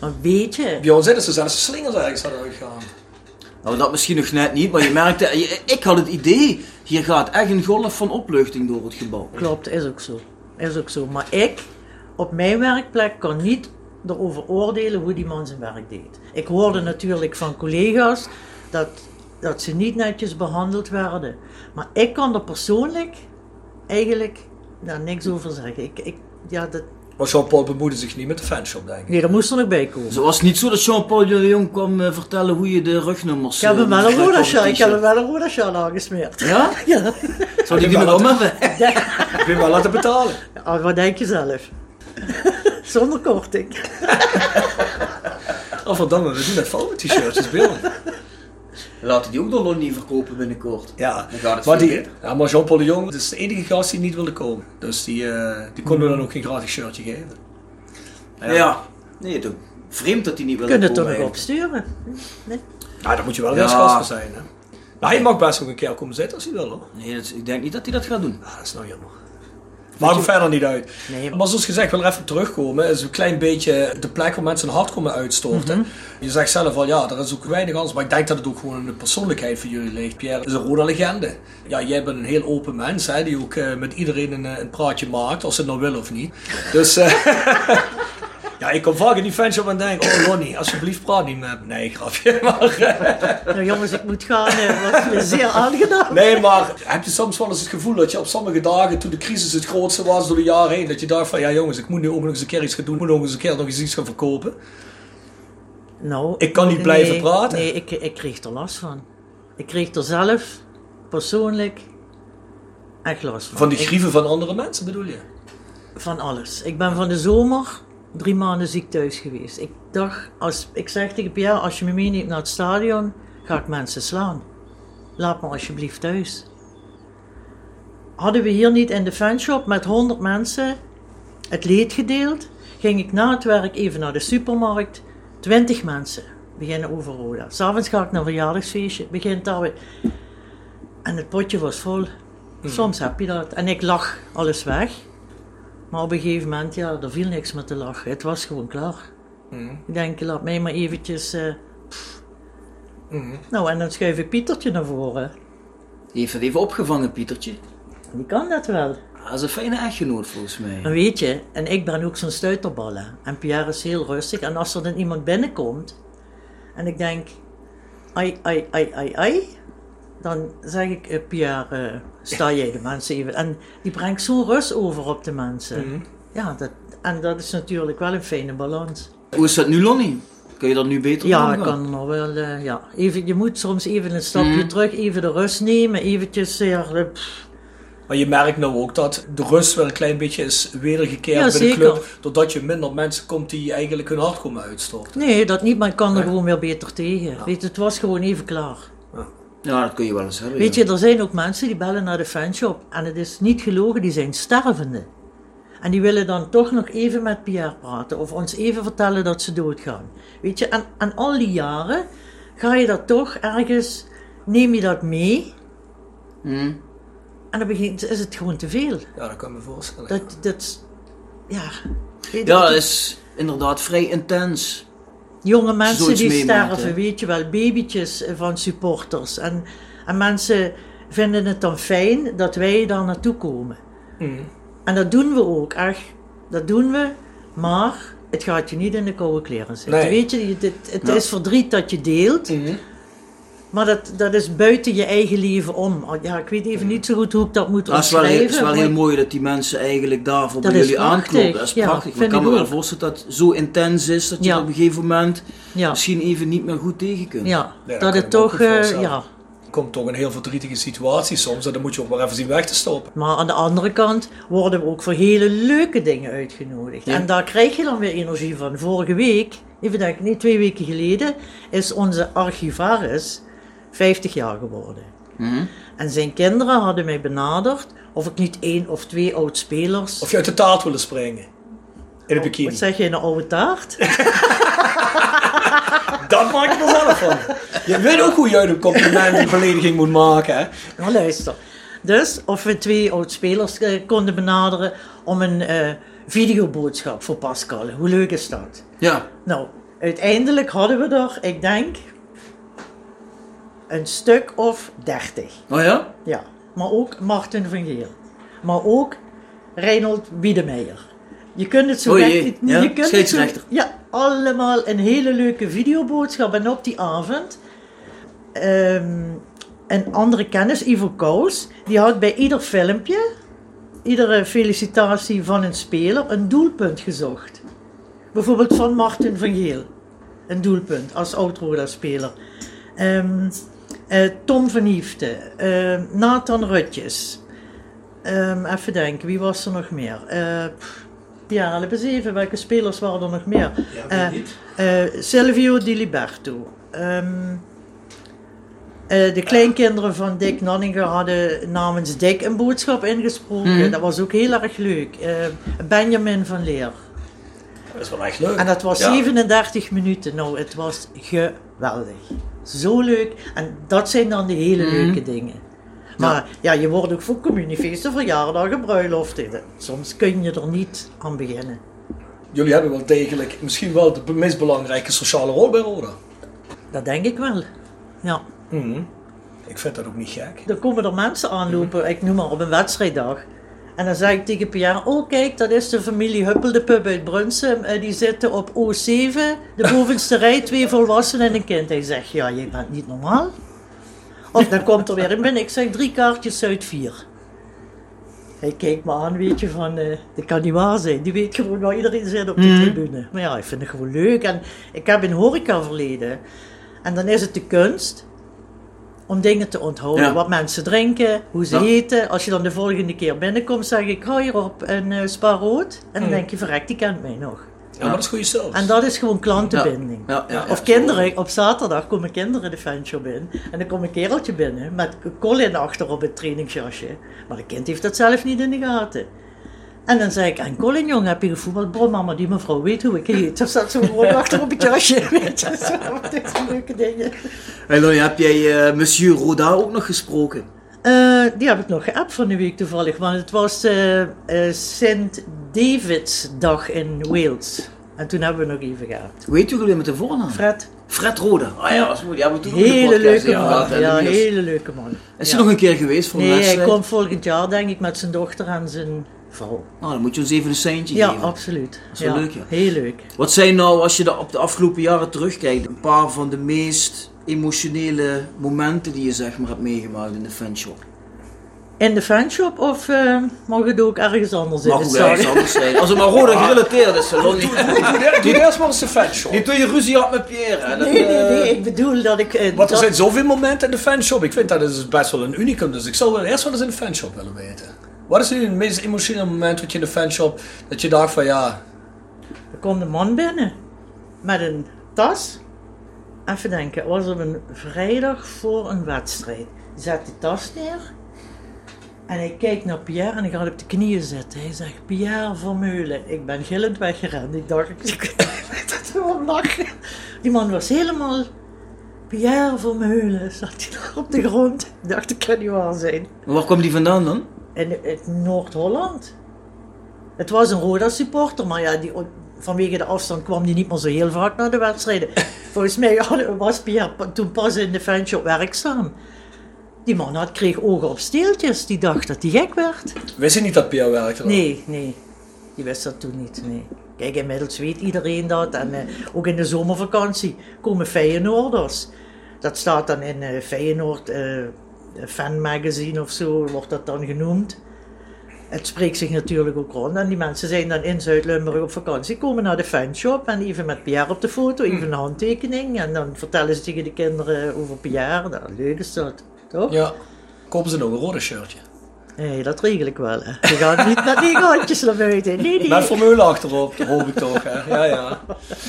[SPEAKER 9] Maar Maar weet je,
[SPEAKER 7] Bij ons zitten ze zelfs de slingers ergens hadden uitgegaan.
[SPEAKER 8] Nou, dat misschien nog net niet, maar je merkte, je- ik had het idee, hier gaat echt een golf van opluchting door het gebouw.
[SPEAKER 9] klopt, is ook zo. Is ook zo. Maar ik, op mijn werkplek, kan niet erover oordelen hoe die man zijn werk deed. Ik hoorde natuurlijk van collega's dat, dat ze niet netjes behandeld werden. Maar ik kan er persoonlijk eigenlijk daar niks over zeggen. Ik, ik, ja, dat,
[SPEAKER 7] Maar Jean-Paul bemoeide zich niet met de fanshop, denk ik.
[SPEAKER 9] nee, dat moest er nog bij komen.
[SPEAKER 8] Dus het was niet zo dat Jean-Paul de Jong kwam eh, vertellen hoe je de rugnummers...
[SPEAKER 9] Ik heb hem
[SPEAKER 8] eh,
[SPEAKER 9] wel een
[SPEAKER 8] moest
[SPEAKER 9] rodersjaal,
[SPEAKER 8] trekken op
[SPEAKER 9] ik
[SPEAKER 8] het
[SPEAKER 9] heb hem wel een rodersjaal aangesmeerd.
[SPEAKER 8] t-shirt. Ja?
[SPEAKER 9] Ja.
[SPEAKER 8] Zou die die
[SPEAKER 7] Ik
[SPEAKER 8] maar
[SPEAKER 7] heb
[SPEAKER 8] om hebben?
[SPEAKER 7] Ik wil wel laten betalen.
[SPEAKER 9] Ah, wat denk je zelf? *laughs* Zonder korting.
[SPEAKER 7] Of wat dan, Oh, we doen dat vol met t-shirts, dat is beeld.
[SPEAKER 8] Laten die ook de Lonnie verkopen binnenkort.
[SPEAKER 7] Ja,
[SPEAKER 8] Dan gaat het
[SPEAKER 7] maar,
[SPEAKER 8] veel
[SPEAKER 7] die,
[SPEAKER 8] beter.
[SPEAKER 7] ja, maar Jean-Paul de Jong dat is de enige gast die niet wilde komen. Dus die, eh, die kon me dan ook geen gratis shirtje geven.
[SPEAKER 8] Ja. Nee, toch. Vreemd dat die niet wil
[SPEAKER 9] Kunnen het toch
[SPEAKER 8] komen
[SPEAKER 9] nog
[SPEAKER 8] eigenlijk.
[SPEAKER 9] opsturen? Nee?
[SPEAKER 7] Nou, daar moet je wel
[SPEAKER 8] Ja.
[SPEAKER 7] weer gast voor zijn. Hè? Nou, hij mag best nog een keer komen zitten als hij wil hoor.
[SPEAKER 8] Nee, dat is- ik denk niet dat hij dat gaat doen.
[SPEAKER 7] Ja, dat is nou jammer. Maakt me verder niet uit.
[SPEAKER 9] Nee.
[SPEAKER 7] Maar zoals gezegd, ik wil er even op terugkomen. is een klein beetje de plek waar mensen hun hart komen uitstorten. Je zegt zelf al, ja, er is ook weinig anders. Maar ik denk dat het ook gewoon in de persoonlijkheid van jullie ligt. Pierre is een rode legende. Ja, jij bent een heel open mens, hè, die ook eh, met iedereen een, eh, een praatje maakt. Of ze het nou willen of niet. Dus... eh, *laughs* Ja, ik kom vaak in die fanshop en denk, oh Lonnie, alsjeblieft praat niet met me. Nee, grapje. *laughs* Maar, eh,
[SPEAKER 9] Nou jongens, ik moet gaan. eh, was me zeer aangenaam.
[SPEAKER 7] Nee, maar heb je soms wel eens het gevoel dat je op sommige dagen, toen de crisis het grootste was door de jaren heen, dat je dacht van, ja jongens, ik moet nu ook nog eens een keer iets gaan doen, ik moet nog eens een keer nog eens iets gaan verkopen.
[SPEAKER 9] Nou,
[SPEAKER 7] Ik kan niet blijven praten.
[SPEAKER 9] Nee, ik, ik kreeg er last van. Ik kreeg er zelf persoonlijk echt last van.
[SPEAKER 7] Van die
[SPEAKER 9] Ik-
[SPEAKER 7] grieven van andere mensen bedoel je?
[SPEAKER 9] van alles. Ik ben van de zomer drie maanden ziek thuis geweest. Ik dacht, als, ik zeg tegen Pierre, als je me meeneemt naar het stadion, ga ik mensen slaan. Laat me alsjeblieft thuis. Hadden we hier niet in de fanshop met 100 mensen het leed gedeeld, ging ik na het werk even naar de supermarkt. 20 mensen beginnen over Roda. S'avonds ga ik naar een verjaardagsfeestje, begint daar weer. En het potje was vol. Soms heb je dat. En ik lag alles weg. Maar op een gegeven moment, ja, er viel niks met te lachen. Het was gewoon klaar. Ik denk, laat mij maar eventjes... eh, pff. Nou, en dan schuif ik Pietertje naar voren.
[SPEAKER 8] Die heeft het even opgevangen, Pietertje.
[SPEAKER 9] Die kan dat wel.
[SPEAKER 8] Dat is een fijne echtgenoot volgens mij.
[SPEAKER 9] En weet je, en ik ben ook zo'n stuiterballen. En Pierre is heel rustig. En als er dan iemand binnenkomt... En ik denk... Ai, ai, ai, ai, ai... Dan zeg ik, eh, Pierre, eh, sta jij de mensen even... En die brengt zo'n rust over op de mensen. Ja, dat, en dat is natuurlijk wel een fijne balans.
[SPEAKER 8] Hoe is dat nu, Lonnie? Kun je dat nu beter
[SPEAKER 9] Ja,
[SPEAKER 8] doen?
[SPEAKER 9] ik kan nog wel. eh, ja. even, je moet soms even een stapje
[SPEAKER 8] Hmm.
[SPEAKER 9] terug, even de rust nemen, eventjes. eh, eh, pff.
[SPEAKER 7] Maar je merkt nou ook dat de rust wel een klein beetje is wedergekeerd
[SPEAKER 9] Ja,
[SPEAKER 7] bij
[SPEAKER 9] zeker.
[SPEAKER 7] de club. Doordat je minder mensen komt die eigenlijk hun hart komen uitstorten.
[SPEAKER 9] nee, dat niet, maar ik kan er gewoon weer beter tegen. Weet, je, het was gewoon even klaar.
[SPEAKER 8] Ja, dat kun je wel eens hebben.
[SPEAKER 9] Weet
[SPEAKER 8] ja.
[SPEAKER 9] je, er zijn ook mensen die bellen naar de fanshop en het is niet gelogen, die zijn stervende. En die willen dan toch nog even met Pierre praten of ons even vertellen dat ze doodgaan. Weet je, en, en al die jaren ga je dat toch ergens, neem je dat mee
[SPEAKER 8] Hmm.
[SPEAKER 9] en dan begint, is het gewoon te veel.
[SPEAKER 7] Ja, dat kan ik me voorstellen.
[SPEAKER 9] Dat, dat, ja.
[SPEAKER 8] Ja, eh, dat is inderdaad vrij intens.
[SPEAKER 9] jonge mensen
[SPEAKER 8] zoiets
[SPEAKER 9] die
[SPEAKER 8] meemaakt,
[SPEAKER 9] sterven,
[SPEAKER 8] hè?
[SPEAKER 9] weet je wel, babytjes eh, van supporters. En, en mensen vinden het dan fijn dat wij daar naartoe komen.
[SPEAKER 8] Mm.
[SPEAKER 9] En dat doen we ook, echt. Dat doen we, maar het gaat je niet in de koude kleren zitten.
[SPEAKER 7] Nee.
[SPEAKER 9] Weet je, je- dit, het is verdriet dat je deelt.
[SPEAKER 8] Mm-hmm.
[SPEAKER 9] Maar dat, dat is buiten je eigen leven om. Ja, ik weet even niet zo goed hoe ik dat moet
[SPEAKER 8] Mm-hmm. Dat is wel, heel,
[SPEAKER 9] omschrijven.
[SPEAKER 8] is wel
[SPEAKER 9] maar-
[SPEAKER 8] heel mooi dat die mensen eigenlijk daarvoor
[SPEAKER 9] Dat
[SPEAKER 8] bij
[SPEAKER 9] is
[SPEAKER 8] jullie
[SPEAKER 9] prachtig.
[SPEAKER 8] aankloppen. Dat is
[SPEAKER 9] Ja,
[SPEAKER 8] prachtig. Maar
[SPEAKER 9] vind
[SPEAKER 8] ik kan
[SPEAKER 9] ik
[SPEAKER 8] me wel
[SPEAKER 9] ook.
[SPEAKER 8] voorstellen dat het zo intens is dat je
[SPEAKER 9] Ja.
[SPEAKER 8] er op een gegeven moment
[SPEAKER 9] ja,
[SPEAKER 8] misschien even niet meer goed tegen kunt.
[SPEAKER 9] ja,
[SPEAKER 7] Nee, dat
[SPEAKER 9] dat
[SPEAKER 7] kan
[SPEAKER 9] het
[SPEAKER 7] ik me ook
[SPEAKER 9] toch,
[SPEAKER 7] goed
[SPEAKER 9] eh,
[SPEAKER 7] voorstellen.
[SPEAKER 9] ja,
[SPEAKER 7] komt toch een heel verdrietige situatie soms en dan moet je ook maar even zien weg te stoppen.
[SPEAKER 9] Maar aan de andere kant worden we ook voor hele leuke dingen uitgenodigd. En daar krijg je dan weer energie van. Vorige week, even denken, nee, twee weken geleden, is onze archivaris 50 jaar geworden.
[SPEAKER 7] Mhm.
[SPEAKER 9] En zijn kinderen hadden mij benaderd of ik niet één of twee oud-spelers...
[SPEAKER 7] Of je uit de taart willen springen. In een bikini.
[SPEAKER 9] Wat zeg je, een oude taart? *laughs*
[SPEAKER 7] Dat maak ik er zelf van. Je weet ook hoe je uit een compliment
[SPEAKER 9] *laughs*
[SPEAKER 7] een belediging moet maken. Hè?
[SPEAKER 9] Nou, luister. Dus of we twee oud-spelers eh, konden benaderen om een eh, videoboodschap voor Pascal. Hoe leuk is dat?
[SPEAKER 8] Ja.
[SPEAKER 9] Nou, Uiteindelijk hadden we er, ik denk, een stuk of dertig.
[SPEAKER 8] Oh ja?
[SPEAKER 9] Ja, maar ook Martin van Geel. Maar ook Reinhold Wiedemeijer. Je kunt het zo
[SPEAKER 8] O
[SPEAKER 9] weg-
[SPEAKER 8] jee, ja,
[SPEAKER 9] je kunt het zo-
[SPEAKER 8] scheidsrechter.
[SPEAKER 9] ja, allemaal een hele leuke videoboodschap. En op die avond, ehm, een andere kennis, Ivo Kous, die had bij ieder filmpje, iedere felicitatie van een speler, een doelpunt gezocht. Bijvoorbeeld van Martin van Geel. Een doelpunt als oud-Roda-speler. Ehm, eh, Tom van Hiefte, ehm, Nathan Rutjes. Ehm, even denken, wie was er nog meer? Eh, pff, ja, help eens even, welke spelers waren er nog meer? Eh, eh, Silvio Di Liberto. Ehm, eh, de kleinkinderen van Dick Nanninger hadden namens Dick een boodschap ingesproken. Dat was ook heel erg leuk. Eh, Benjamin van Leer.
[SPEAKER 7] Dat is wel echt leuk.
[SPEAKER 9] En dat was
[SPEAKER 7] Ja.
[SPEAKER 9] 37 minuten. Nou, het was geweldig. Zo leuk. En dat zijn dan de hele leuke dingen. Maar ja. je wordt ook voor communiefeesten, verjaardagen, bruiloften. Soms kun je er niet aan beginnen.
[SPEAKER 7] Jullie hebben wel degelijk misschien wel de meest belangrijke sociale rol bij Roda.
[SPEAKER 9] Dat denk ik wel. Ja. Mhm.
[SPEAKER 7] Ik vind dat ook niet gek.
[SPEAKER 9] Dan komen er mensen aanlopen, ik noem maar op een wedstrijddag. En dan zeg ik tegen Pierre, oh kijk, dat is de familie Huppel de Pub uit Brunsum. Eh, die zitten op O7, de bovenste rij, twee volwassenen en een kind. Hij zegt, ja, je bent niet normaal. Of dan komt er weer een binnen, ik zeg drie kaartjes uit vier. Hij kijkt me aan, weet je, van, eh dat kan niet waar zijn. Die weet gewoon waar iedereen zit op de
[SPEAKER 8] Mhm.
[SPEAKER 9] tribune. Maar ja, ik vind het gewoon leuk. En ik heb een horeca verleden. En dan is het de kunst om dingen te onthouden.
[SPEAKER 8] Ja.
[SPEAKER 9] Wat mensen drinken, hoe ze
[SPEAKER 8] Ja.
[SPEAKER 9] eten. Als je dan de volgende keer binnenkomt, zeg ik, hou hier op een eh spa rood. En dan
[SPEAKER 8] Mhm.
[SPEAKER 9] denk je, verrek, die kent mij nog.
[SPEAKER 7] Ja, maar dat is goede service.
[SPEAKER 9] En dat is gewoon klantenbinding.
[SPEAKER 8] Ja, ja, ja, ja,
[SPEAKER 9] of
[SPEAKER 8] zo.
[SPEAKER 9] kinderen, op zaterdag komen kinderen de fanshop in. En dan komt een kereltje binnen met Colin achter op het trainingsjasje. Maar het kind heeft dat zelf niet in de gaten. En dan zei ik, en Colin jong, heb je gevoetbald? Bro, mama, die mevrouw weet hoe ik heet. Dus Of zat zo gewoon achter op het jasje. *laughs* Weet je, zo, *laughs* dit zijn leuke dingen.
[SPEAKER 8] En dan heb jij eh, Monsieur Roda ook nog gesproken.
[SPEAKER 9] Eh, die heb ik nog geappt van de week toevallig, want het was eh St. David's dag in Wales. En toen hebben we nog even gehad.
[SPEAKER 8] Hoe heet jullie met de voornaam?
[SPEAKER 9] Fred,
[SPEAKER 8] Fred Roda. Ah ja, dat is goed. Ja, we doen ook een
[SPEAKER 9] hele
[SPEAKER 8] podcast,
[SPEAKER 9] leuke
[SPEAKER 8] ja,
[SPEAKER 9] man.
[SPEAKER 8] dat,
[SPEAKER 9] Ja,
[SPEAKER 8] eh, dat is-
[SPEAKER 9] hele leuke man.
[SPEAKER 8] Is
[SPEAKER 9] Ja.
[SPEAKER 8] hij nog een keer geweest voor een
[SPEAKER 9] Nee, hij
[SPEAKER 8] wedstrijd?
[SPEAKER 9] komt volgend jaar denk ik met zijn dochter en zijn vrouw.
[SPEAKER 8] Nou, dan moet je ons even een seintje
[SPEAKER 9] Ja,
[SPEAKER 8] geven.
[SPEAKER 9] absoluut.
[SPEAKER 8] is wel
[SPEAKER 9] Ja,
[SPEAKER 8] leuk, ja.
[SPEAKER 9] Heel leuk.
[SPEAKER 8] Wat zijn nou, als je daar op de afgelopen jaren terugkijkt, een paar van de meest emotionele momenten die je zeg maar hebt meegemaakt in de fanshop?
[SPEAKER 9] In de fanshop of eh mag het ook ergens anders in
[SPEAKER 8] Mag
[SPEAKER 9] het
[SPEAKER 8] ook
[SPEAKER 9] zaal?
[SPEAKER 8] ergens anders zijn. Als het maar Roda gerelateerd is. dan niet.
[SPEAKER 7] Doe eerst maar eens een fanshop.
[SPEAKER 8] Niet dat je ruzie had met Pierre. hè. Dat,
[SPEAKER 9] Nee, nee,
[SPEAKER 8] eh,
[SPEAKER 9] nee, ik bedoel dat ik... eh,
[SPEAKER 7] Want er
[SPEAKER 9] dat-
[SPEAKER 7] zijn zoveel momenten in de fanshop. Ik vind dat is best wel een unicum. Dus ik zou wel eerst wel eens in de fanshop willen weten. Wat is nu het meest emotionele moment wat je in de fanshop... dat je dacht van ja...
[SPEAKER 9] Er komt een man binnen met een tas. Even denken, het was op een vrijdag voor een wedstrijd. Hij zet die tas neer en hij kijkt naar Pierre en hij gaat op de knieën zitten. Hij zegt, Pierre Vermeulen. Ik ben gillend weggerend. Ik dacht, *laughs* ik weet dat wel om lachen. Die man was helemaal... Pierre Vermeulen zat hij daar op de grond. Ik dacht, dat kan niet waar zijn.
[SPEAKER 8] Maar waar kwam die vandaan dan?
[SPEAKER 9] In het Noord-Holland. Het was een Roda supporter, maar ja, die, vanwege de afstand kwam die niet meer zo heel vaak naar de wedstrijden. Volgens mij hadden- was Pierre pa- toen pas in de fanshop werkzaam. Die man had, kreeg ogen op steeltjes, die dacht dat hij gek werd.
[SPEAKER 7] Wist je niet dat Pierre werkte? dan?
[SPEAKER 9] Nee, nee. Die wist dat toen niet, nee. Kijk, inmiddels weet iedereen dat. En eh, ook in de zomervakantie komen Feyenoorders. Dat staat dan in eh, Feyenoord eh, Fan Magazine of zo, wordt dat dan genoemd. Het spreekt zich natuurlijk ook rond. En die mensen zijn dan in Zuid-Limburg op vakantie, komen naar de fanshop en even met Pierre op de foto, even een handtekening. En dan vertellen ze tegen de kinderen over Pierre. Nou, leuk is dat, toch?
[SPEAKER 7] Ja. Kopen ze nog een rode shirtje.
[SPEAKER 9] Nee, dat regel ik wel. Hè. Je gaat niet met die handjes naar buiten. Nee, nee.
[SPEAKER 7] Met formule achterop, dat hoop ik toch. Hè. Ja, ja.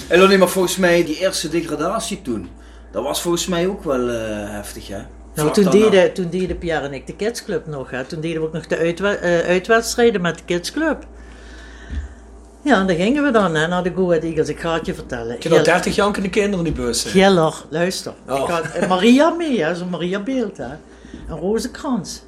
[SPEAKER 8] En dan nee, maar volgens mij die eerste degradatie toen. Dat was volgens mij ook wel eh, heftig hè?
[SPEAKER 9] Nou,
[SPEAKER 8] Vlak
[SPEAKER 9] toen
[SPEAKER 8] daarna.
[SPEAKER 9] deden, toen deden Pierre en ik de kidsclub nog. Hè. Toen deden we ook nog de uitwe- eh, uitwedstrijden met de kidsclub. Ja, en daar gingen we dan hè, naar de Go Ahead Eagles. Ik ga het je vertellen.
[SPEAKER 7] Je had
[SPEAKER 9] Gel-
[SPEAKER 7] 30 jankende kinderen in die bus. zitten.
[SPEAKER 9] Geller, luister.
[SPEAKER 7] Oh.
[SPEAKER 9] Ik had eh, Maria mee, hè, zo'n Maria beeld. Hè. Een roze krans.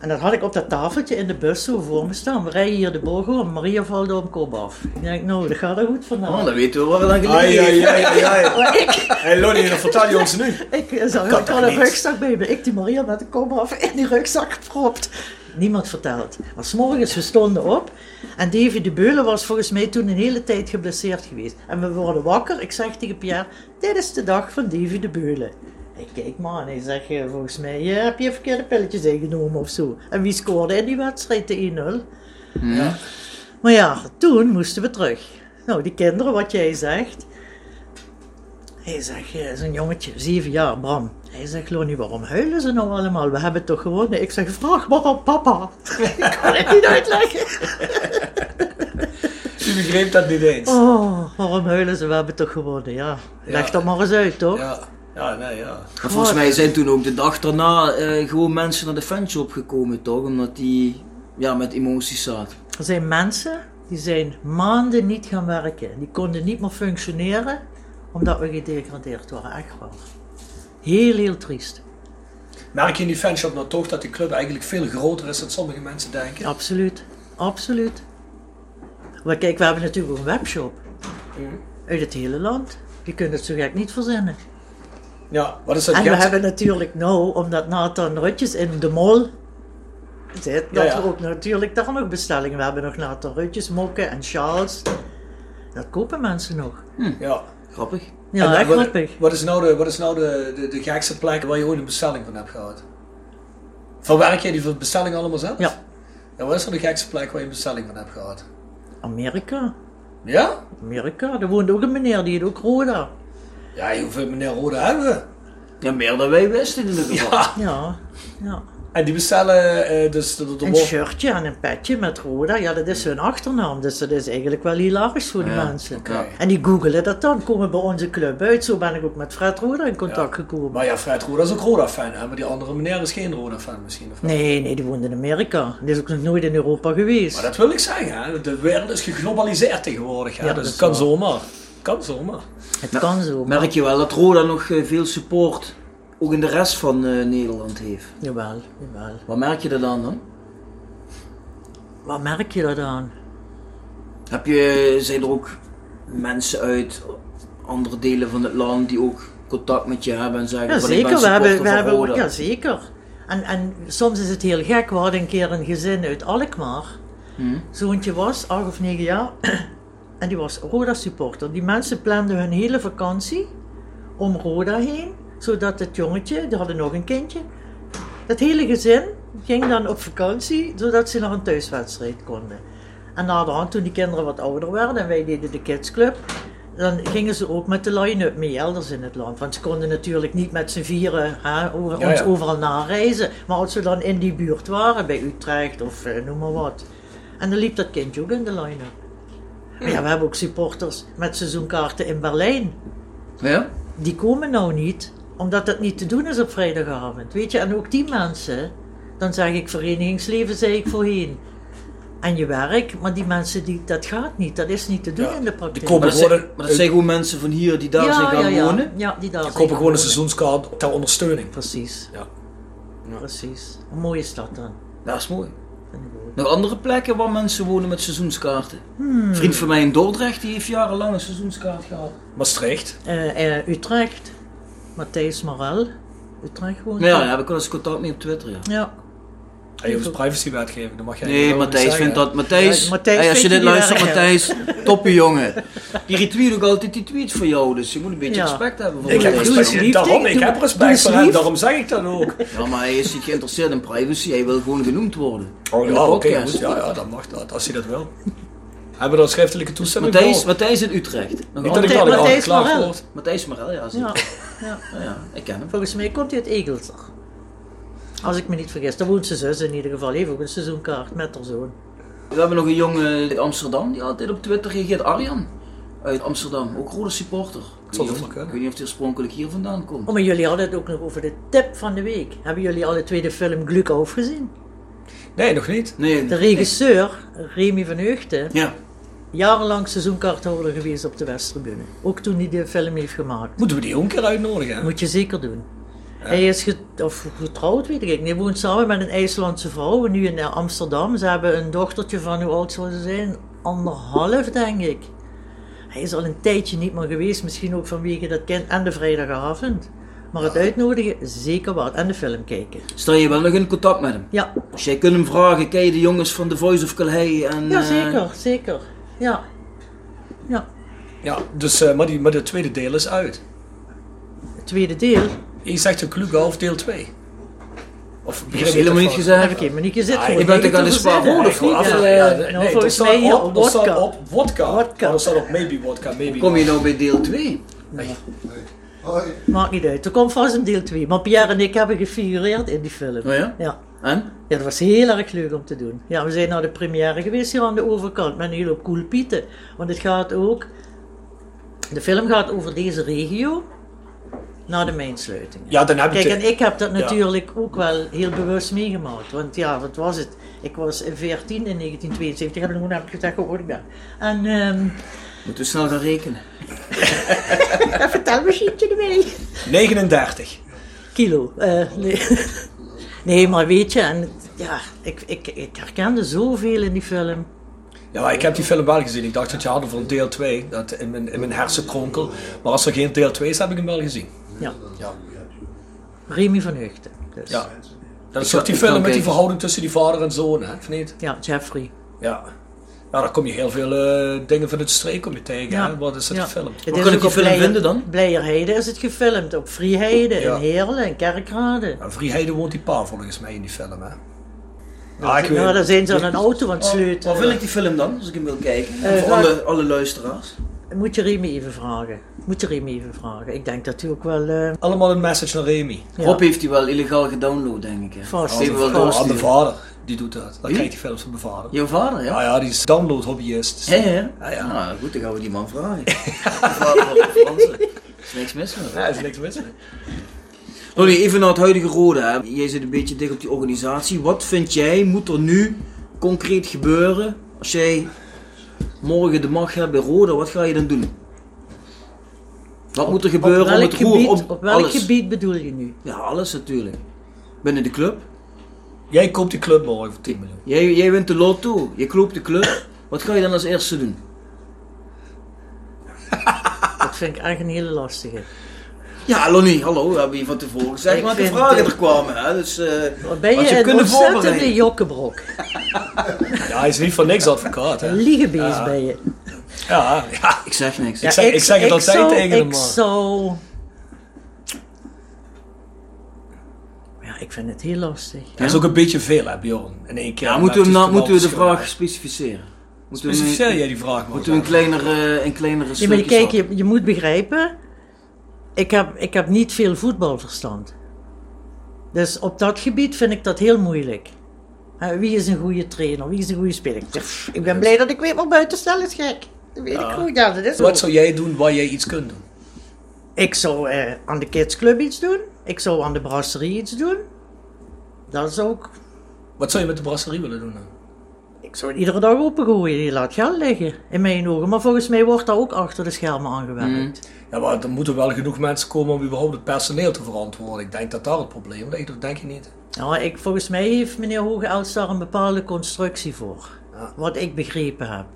[SPEAKER 9] En dat had ik op dat tafeltje in de bus zo voor me staan. We rijden hier de bogen om, Maria valt om kop af. Ik denk, nou, dat gaat er goed
[SPEAKER 8] Oh,
[SPEAKER 9] vandaag.
[SPEAKER 8] dat weten we wel lang
[SPEAKER 7] Ai,
[SPEAKER 8] geleden.
[SPEAKER 7] ai, ai, ai,
[SPEAKER 9] *laughs*
[SPEAKER 7] ai.
[SPEAKER 9] Maar ik,
[SPEAKER 7] Hey Lonnie, dan vertel je ons nu.
[SPEAKER 9] ik zag
[SPEAKER 7] kan
[SPEAKER 9] ik
[SPEAKER 7] toch
[SPEAKER 9] had een
[SPEAKER 7] niet?
[SPEAKER 9] rugzak bij me. Ik die Maria met de kop af in die rugzak gepropt. Niemand verteld. Maar 's morgens we stonden op. En Davy de Beulen was volgens mij toen een hele tijd geblesseerd geweest. En we worden wakker. Ik zeg tegen Pierre, dit is de dag van Davy de Beulen. Hij kijkt me aan. Hij zegt, eh, volgens mij eh, heb je verkeerde pilletjes ingenomen of zo. En wie scoorde in die wedstrijd de 1-0? Maar ja, toen moesten we terug. Nou, die kinderen, wat jij zegt. Hij zegt, eh, zo'n jongetje, zeven jaar, Bram. Hij zegt, Lonnie, waarom huilen ze nou allemaal? We hebben toch gewonnen? Ik zeg, vraag maar aan papa. *laughs* ik kan het niet uitleggen.
[SPEAKER 7] Je begreep dat niet eens.
[SPEAKER 9] Oh, *laughs* waarom huilen ze? We hebben toch gewonnen, ja. Leg
[SPEAKER 7] Ja.
[SPEAKER 9] dat maar eens uit, toch?
[SPEAKER 7] Ja, ja, nee, ja.
[SPEAKER 8] Maar volgens mij zijn toen ook de dag daarna eh, gewoon mensen naar de fanshop gekomen, toch? Omdat die ja, met emoties zaten.
[SPEAKER 9] Er zijn mensen die zijn maanden niet gaan werken. Die konden niet meer functioneren, omdat we gedegradeerd waren. Echt waar. Heel, heel triest.
[SPEAKER 7] Merk je in die fanshop nou toch dat die club eigenlijk veel groter is dan sommige mensen denken?
[SPEAKER 9] Absoluut, absoluut. Maar kijk, we hebben natuurlijk ook een webshop. Uit het hele land. Je kunt het zo gek niet verzinnen.
[SPEAKER 7] Ja, wat is dat?
[SPEAKER 9] en we
[SPEAKER 7] geld?
[SPEAKER 9] hebben natuurlijk nu, omdat Nathan Rutjes in de mol zit, dat
[SPEAKER 7] ja.
[SPEAKER 9] we ook natuurlijk daar nog bestellingen. We hebben nog Nathan Rutjes, Mokken en Charles. Dat kopen mensen nog.
[SPEAKER 7] Ja.
[SPEAKER 8] Grappig.
[SPEAKER 9] Ja,
[SPEAKER 7] En
[SPEAKER 9] echt
[SPEAKER 7] wat-
[SPEAKER 9] grappig.
[SPEAKER 7] Wat is nou, de, wat is nou de, de, de gekste plek waar je ooit een bestelling van hebt gehad? Verwerk jij die bestelling allemaal zelf?
[SPEAKER 9] Ja,
[SPEAKER 7] En wat is nou de gekste plek waar je een bestelling van hebt gehad?
[SPEAKER 9] Amerika.
[SPEAKER 7] Ja?
[SPEAKER 9] Amerika. Er woont ook een meneer, die heet ook Roda.
[SPEAKER 7] Ja, hoeveel meneer Rode hebben we?
[SPEAKER 8] Ja, meer dan wij wisten in ieder geval.
[SPEAKER 9] Ja, ja.
[SPEAKER 7] En die bestellen eh, dus de, de, de
[SPEAKER 9] Een
[SPEAKER 7] wor-
[SPEAKER 9] shirtje en een petje met Roda, ja, dat is hun achternaam. Dus dat is eigenlijk wel hilarisch voor de mensen. En die googelen dat dan, komen bij onze club uit. Zo ben ik ook met Fred Roda in contact gekomen.
[SPEAKER 7] Maar ja, Fred Roda is ook Roda-fan, hè? maar die andere meneer is geen Roda-fan misschien. Of wel?
[SPEAKER 9] Nee, nee, die woont in Amerika. Die is ook nog nooit in Europa geweest.
[SPEAKER 7] Maar dat wil ik zeggen, hè? de wereld is geglobaliseerd tegenwoordig. Hè?
[SPEAKER 9] Ja,
[SPEAKER 7] dus
[SPEAKER 9] dat
[SPEAKER 7] het
[SPEAKER 9] is
[SPEAKER 7] kan
[SPEAKER 9] waar.
[SPEAKER 7] zomaar. Kan zomaar.
[SPEAKER 9] Het kan zo. Maar...
[SPEAKER 8] Merk je wel dat Roda nog eh, veel support ook in de rest van eh, Nederland heeft.
[SPEAKER 9] Jawel, jawel.
[SPEAKER 8] Wat merk je er dan dan?
[SPEAKER 9] Waar merk je dat aan?
[SPEAKER 8] Heb je, zijn er ook mensen uit andere delen van het land die ook contact met je hebben en zeggen
[SPEAKER 9] Ja,
[SPEAKER 8] van ik ben
[SPEAKER 9] zeker. We hebben, we
[SPEAKER 8] supporter van
[SPEAKER 9] hebben,
[SPEAKER 8] Roda.
[SPEAKER 9] ja, zeker. En, en soms is het heel gek. We hadden een keer een gezin uit Alkmaar.
[SPEAKER 8] Hmm.
[SPEAKER 9] Zoontje was acht of negen jaar. *clears throat* en die was Roda-supporter. Die mensen planden hun hele vakantie om Roda heen. Zodat het jongetje, die hadden nog een kindje. Dat hele gezin ging dan op vakantie, zodat ze naar een thuiswedstrijd konden. En naderhand, toen die kinderen wat ouder werden en wij deden de kidsclub, dan gingen ze ook met de line-up mee elders in het land. Want ze konden natuurlijk niet met z'n vieren hè, over,
[SPEAKER 7] Ja,
[SPEAKER 9] ons
[SPEAKER 7] ja.
[SPEAKER 9] overal nareizen. Maar als ze dan in die buurt waren, bij Utrecht of eh, noem maar wat. En dan liep dat kindje ook in de line-up. Maar ja, we hebben ook supporters met seizoenkaarten in Berlijn
[SPEAKER 8] Ja?
[SPEAKER 9] die komen nou niet, omdat dat niet te doen is op vrijdagavond. Weet je, en ook die mensen, dan zeg ik verenigingsleven, zei ik voorheen. En je werk, maar die mensen, die, dat gaat niet, dat is niet te doen
[SPEAKER 7] Ja,
[SPEAKER 9] in de
[SPEAKER 7] die
[SPEAKER 9] praktijk.
[SPEAKER 7] komen
[SPEAKER 8] Maar dat, zijn,
[SPEAKER 7] Worden-
[SPEAKER 8] maar dat zijn gewoon mensen van hier die daar zijn
[SPEAKER 9] ja,
[SPEAKER 8] gaan
[SPEAKER 9] ja, ja,
[SPEAKER 8] wonen.
[SPEAKER 9] ja, die daar
[SPEAKER 7] Ik
[SPEAKER 9] zijn
[SPEAKER 7] koop
[SPEAKER 9] gaan
[SPEAKER 7] gewoon een
[SPEAKER 9] wonen.
[SPEAKER 7] seizoenskaart ter ondersteuning.
[SPEAKER 9] Precies,
[SPEAKER 7] Ja.
[SPEAKER 9] precies. Een mooie stad dan.
[SPEAKER 8] Dat is mooi.
[SPEAKER 9] vind ik ook.
[SPEAKER 8] Nog andere plekken waar mensen wonen met seizoenskaarten.
[SPEAKER 9] Hmm.
[SPEAKER 8] Een vriend van mij in Dordrecht die heeft jarenlang een seizoenskaart gehad.
[SPEAKER 7] Maastricht.
[SPEAKER 9] Eh, eh, Utrecht, Matthijs Morel, Utrecht woont.
[SPEAKER 8] Ja, ja,
[SPEAKER 9] daar.
[SPEAKER 8] heb ik wel eens contact mee op Twitter. Ja.
[SPEAKER 9] ja.
[SPEAKER 7] Hij heeft privacywetgeving, dat mag jij
[SPEAKER 8] Nee,
[SPEAKER 7] nou niet
[SPEAKER 8] Matthijs
[SPEAKER 7] zeggen,
[SPEAKER 8] vindt
[SPEAKER 7] hè?
[SPEAKER 8] dat. Matthijs,
[SPEAKER 9] Ja, Matthijs
[SPEAKER 8] hey, als
[SPEAKER 9] vindt
[SPEAKER 8] je
[SPEAKER 9] die
[SPEAKER 8] dit luistert,
[SPEAKER 9] wel erg,
[SPEAKER 8] Matthijs, toppie jongen. Die retweet ook altijd die tweets van jou, dus je moet een beetje
[SPEAKER 9] Ja.
[SPEAKER 8] respect hebben voor
[SPEAKER 7] Ik heb
[SPEAKER 9] Doe
[SPEAKER 8] Matthijs.
[SPEAKER 9] eens
[SPEAKER 7] respect,
[SPEAKER 9] lief,
[SPEAKER 7] daarom,
[SPEAKER 9] Dick,
[SPEAKER 7] ik
[SPEAKER 9] doe-
[SPEAKER 7] heb
[SPEAKER 9] doe
[SPEAKER 7] respect
[SPEAKER 9] eens
[SPEAKER 7] voor hem,
[SPEAKER 9] lief.
[SPEAKER 7] daarom zeg ik dat ook.
[SPEAKER 8] Ja, maar hij is niet geïnteresseerd in privacy, hij wil gewoon genoemd worden.
[SPEAKER 7] Oh
[SPEAKER 8] In
[SPEAKER 7] ja,
[SPEAKER 8] de
[SPEAKER 7] oké,
[SPEAKER 8] podcast.
[SPEAKER 7] goed. ja, ja, dan mag dat, als hij dat wil. Hebben we daar schriftelijke toestemming
[SPEAKER 8] Matthijs,
[SPEAKER 7] voor?
[SPEAKER 8] Matthijs in Utrecht. Nog
[SPEAKER 7] Niet dat ik
[SPEAKER 8] altijd-
[SPEAKER 7] daar al
[SPEAKER 9] Matthijs
[SPEAKER 7] geklaagd
[SPEAKER 9] Morel.
[SPEAKER 7] word.
[SPEAKER 8] Matthijs Marel, ja, zeker.
[SPEAKER 9] Ja,
[SPEAKER 8] Ja.
[SPEAKER 9] ja.
[SPEAKER 8] ja, ik ken hem.
[SPEAKER 9] Volgens mij komt hij uit Egelser. Als ik me niet vergis. Daar woont zijn zus in ieder geval. Heeft ook een seizoenkaart met haar zoon.
[SPEAKER 8] We hebben nog een jongen uit Amsterdam die altijd op Twitter reageert. Arjan uit Amsterdam, ook rode supporter. Ik
[SPEAKER 7] Zal
[SPEAKER 8] weet, niet
[SPEAKER 7] dat
[SPEAKER 8] of-
[SPEAKER 7] wel
[SPEAKER 8] ik weet niet of hij oorspronkelijk hier vandaan komt.
[SPEAKER 9] Oh, maar jullie hadden het ook nog over de tip van de week. Hebben jullie alle twee de film Glukauf gezien?
[SPEAKER 7] Nee, nog niet.
[SPEAKER 8] Nee,
[SPEAKER 9] De regisseur, Remy van Heugten,
[SPEAKER 8] Ja.
[SPEAKER 9] jarenlang seizoenkaarthouder geweest op de Westtribune. Ook toen hij de film heeft gemaakt.
[SPEAKER 7] Moeten we die ook een keer uitnodigen? hè?
[SPEAKER 9] Moet je zeker doen. Hij is get- of getrouwd, weet ik niet. Hij woont samen met een IJslandse vrouw, nu in eh, Amsterdam. Ze hebben een dochtertje van, hoe oud zal ze zijn? Anderhalf, denk ik. Hij is al een tijdje niet meer geweest, misschien ook vanwege dat kind en de vrijdagavond. Maar het uitnodigen, zeker waard. En de film kijken.
[SPEAKER 8] Sta je wel nog in contact met hem?
[SPEAKER 9] Ja,
[SPEAKER 8] Dus jij kunt hem vragen, ken je de jongens van The Voice of Calais? En,
[SPEAKER 9] ja
[SPEAKER 8] eh,
[SPEAKER 9] zeker, zeker. Ja. Ja,
[SPEAKER 7] Ja, dus, eh, maar, die, maar de tweede deel is uit.
[SPEAKER 9] het tweede deel.
[SPEAKER 7] Je zegt een Klugalf deel 2. Of
[SPEAKER 8] dat is helemaal niet
[SPEAKER 9] Heb ik
[SPEAKER 8] gezegd.
[SPEAKER 9] in mijn nietje
[SPEAKER 7] Ah,
[SPEAKER 9] zitten.
[SPEAKER 8] ik ben er al eens paar woorden voor af. eh,
[SPEAKER 9] Nou, volgens mij hier
[SPEAKER 7] op, er staat
[SPEAKER 9] wodka.
[SPEAKER 7] op wodka.
[SPEAKER 9] Wodka.
[SPEAKER 7] Maar er staat op maybe wodka, maybe
[SPEAKER 8] Kom je nou bij deel 2?
[SPEAKER 9] Maakt niet uit, er komt vast een deel 2. Maar Pierre en ik hebben gefigureerd in die film.
[SPEAKER 8] Oh ja?
[SPEAKER 9] Ja.
[SPEAKER 8] En?
[SPEAKER 9] Ja, dat was heel erg leuk om te doen. Ja, we zijn naar de première geweest hier aan de overkant met een hele hoop cool pieten. Want het gaat ook, de film gaat over deze regio na de mijnsluiting.
[SPEAKER 7] Ja, dan heb je
[SPEAKER 9] Kijk,
[SPEAKER 7] het.
[SPEAKER 9] en ik heb dat natuurlijk ook wel heel bewust meegemaakt. Want ja, wat was het? Ik was 14 in 1972, heb ik nog heb gezegd, hoor ik dat. En ehm,
[SPEAKER 8] Moeten we snel gaan rekenen.
[SPEAKER 9] vertel me schietje ermee.
[SPEAKER 7] 39.
[SPEAKER 9] *laughs* kilo. eh, nee. *laughs* nee, maar weet je, en, ja, ik, ik, ik herkende zoveel in die film.
[SPEAKER 7] Ja, maar ik heb die film wel gezien. Ik dacht dat je had hem voor deel 2 dat in, mijn, in mijn hersenkronkel. Maar als er geen deel 2 is, heb ik hem wel gezien.
[SPEAKER 9] Ja.
[SPEAKER 7] Ja.
[SPEAKER 9] Remy van Heugten. Dus.
[SPEAKER 7] Ja. Dat is
[SPEAKER 8] kan-
[SPEAKER 7] toch die
[SPEAKER 8] ik kan
[SPEAKER 7] film met die
[SPEAKER 8] kijken.
[SPEAKER 7] verhouding tussen die vader en zoon, hè? Of niet?
[SPEAKER 9] Ja, Jeffrey.
[SPEAKER 7] Ja. Ja, daar kom je heel veel eh, dingen van het streek om je tegen,
[SPEAKER 9] Ja.
[SPEAKER 7] hè? Wat is dat
[SPEAKER 9] Ja.
[SPEAKER 7] film?
[SPEAKER 9] Het
[SPEAKER 8] Waar
[SPEAKER 9] is
[SPEAKER 8] kan ik
[SPEAKER 9] ook
[SPEAKER 8] die
[SPEAKER 9] op
[SPEAKER 8] film
[SPEAKER 9] Bleier-
[SPEAKER 8] vinden dan?
[SPEAKER 9] Bleierheide is het gefilmd. Op Vrieheide,
[SPEAKER 7] Ja.
[SPEAKER 9] in Heerlen, in Kerkrade.
[SPEAKER 7] Nou, Vrijheide woont die pa volgens mij in die film, hè? Ah,
[SPEAKER 9] Ja, nou, daar zijn ze aan een auto aan het sleutelen.
[SPEAKER 8] Waar Oh, wil ik die film dan, als ik hem wil kijken?
[SPEAKER 9] Eh,
[SPEAKER 8] voor
[SPEAKER 9] nou-
[SPEAKER 8] alle, alle luisteraars.
[SPEAKER 9] Moet je Remy even vragen. Moet je Remy even vragen. Ik denk dat hij ook wel... eh,
[SPEAKER 7] Allemaal een message naar Remy.
[SPEAKER 9] ja,
[SPEAKER 8] Rob heeft die wel illegaal gedownload, denk ik. Hè?
[SPEAKER 9] Vast.
[SPEAKER 8] Die
[SPEAKER 9] Aan
[SPEAKER 8] wil
[SPEAKER 9] de-
[SPEAKER 7] Oh, mijn
[SPEAKER 8] doorsturen.
[SPEAKER 7] vader, die doet dat. Dan
[SPEAKER 8] Wie?
[SPEAKER 7] krijgt hij films van mijn vader.
[SPEAKER 8] Jouw vader,
[SPEAKER 7] Ja,
[SPEAKER 8] ja?
[SPEAKER 7] ja, die is download-hobbyist.
[SPEAKER 8] Hé, hè?
[SPEAKER 7] Ja, ja.
[SPEAKER 8] Nou, goed, dan gaan we die man *laughs* vragen. Die vader van de Fransen. Er is niks mis mee.
[SPEAKER 7] Ja, is niks mis mee.
[SPEAKER 8] Ronnie, even naar het huidige rode. Hè. Jij zit een beetje dicht op die organisatie. Wat vind jij, moet er nu concreet gebeuren als jij morgen de macht hebt bij Roda? Wat ga je dan doen? Wat moet er gebeuren
[SPEAKER 9] op
[SPEAKER 8] om
[SPEAKER 9] welk,
[SPEAKER 8] het roer
[SPEAKER 9] gebied,
[SPEAKER 8] op,
[SPEAKER 9] op welk
[SPEAKER 8] alles?
[SPEAKER 9] gebied bedoel je nu?
[SPEAKER 8] Ja, alles natuurlijk. Binnen de club.
[SPEAKER 7] Jij koopt die club morgen voor 10 miljoen.
[SPEAKER 8] Jij, jij wint de lotto. Je kloopt de club. Wat ga je dan als eerste doen?
[SPEAKER 9] Dat vind ik echt een hele lastige.
[SPEAKER 8] Ja, Lonnie, hallo. We hebben hier van tevoren gezegd
[SPEAKER 9] Ik
[SPEAKER 8] wat de
[SPEAKER 9] vind
[SPEAKER 8] vragen
[SPEAKER 9] het-
[SPEAKER 8] er kwamen. Hè? Dus, eh,
[SPEAKER 9] Ben je,
[SPEAKER 8] als je
[SPEAKER 9] een
[SPEAKER 8] kunnen
[SPEAKER 9] ontzettende
[SPEAKER 8] voorbereiden.
[SPEAKER 9] jokkenbrok.
[SPEAKER 7] Ja, hij is niet voor niks advocaat, hè?
[SPEAKER 9] Liegebeest ben je.
[SPEAKER 7] Ja, ja.
[SPEAKER 8] Ik zeg niks.
[SPEAKER 7] zeg- ik zeg het altijd
[SPEAKER 9] zou-
[SPEAKER 7] tegen hem,
[SPEAKER 9] Ik
[SPEAKER 7] maar-
[SPEAKER 9] zou... Ja, ik vind het heel lastig.
[SPEAKER 7] Dat is ook een beetje veel, hè, Bjorn? In één keer.
[SPEAKER 8] Ja,
[SPEAKER 7] Dan
[SPEAKER 8] moeten
[SPEAKER 7] heb
[SPEAKER 8] we, hem
[SPEAKER 7] je
[SPEAKER 8] nou-
[SPEAKER 7] het
[SPEAKER 8] moeten we de
[SPEAKER 7] te wel
[SPEAKER 8] vraag specificeren? Moeten we hem-
[SPEAKER 7] Specificeer jij die vraag, man.
[SPEAKER 8] Moeten we een kleinere, een kleinere
[SPEAKER 9] Ja, maar
[SPEAKER 8] stukjes
[SPEAKER 9] kijk,
[SPEAKER 8] houden?
[SPEAKER 9] je, je moet begrijpen, ik heb, ik heb niet veel voetbalverstand. Dus op dat gebied vind ik dat heel moeilijk. Hè, Wie is een goede trainer? Wie is een goede speler? Ik zeg, pff, Ik ben blij dat ik weet, maar buitenstel is gek. Dat weet ik goed, ja, dat is
[SPEAKER 7] Wat
[SPEAKER 9] zo.
[SPEAKER 7] zou jij doen waar jij iets kunt doen?
[SPEAKER 9] Ik zou eh, aan de kidsclub iets doen. Ik zou aan de brasserie iets doen. Dat is ook
[SPEAKER 7] Wat zou je met de brasserie willen doen? dan?
[SPEAKER 9] Ik zou het iedere dag opengooien. Je laat geld liggen, in mijn ogen. Maar volgens mij wordt daar ook achter de schermen aan
[SPEAKER 7] Mm.
[SPEAKER 9] gewerkt.
[SPEAKER 7] Ja, maar er moeten wel genoeg mensen komen om überhaupt het personeel te verantwoorden. Ik denk dat daar het probleem ligt, of denk je niet?
[SPEAKER 9] Nou, ik, volgens mij heeft meneer Hoge Els daar een bepaalde constructie voor. Wat ik begrepen heb.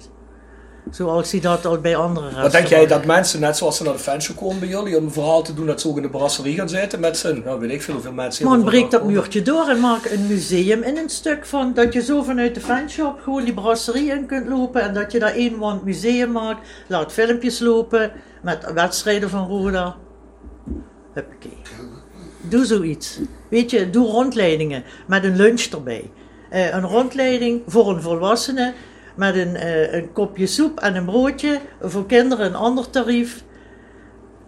[SPEAKER 9] Zoals hij dat al bij andere
[SPEAKER 7] Wat denk jij
[SPEAKER 9] restaurants-
[SPEAKER 7] dat mensen, net zoals ze naar de fanshow komen bij jullie, om een verhaal te doen dat ze ook in de brasserie gaan zitten met z'n, nou weet ik veel hoeveel mensen
[SPEAKER 9] Man,
[SPEAKER 7] er vandaag
[SPEAKER 9] breek dat
[SPEAKER 7] komen?
[SPEAKER 9] muurtje door en maak een museum in een stuk van dat je zo vanuit de fanshop gewoon die brasserie in kunt lopen en dat je daar één wand museum maakt. Laat filmpjes lopen met wedstrijden van Roda. Huppakee. Doe zoiets. Weet je, doe rondleidingen met een lunch erbij. Eh, een rondleiding voor een volwassene met een, eh, een kopje soep en een broodje. Voor kinderen een ander tarief.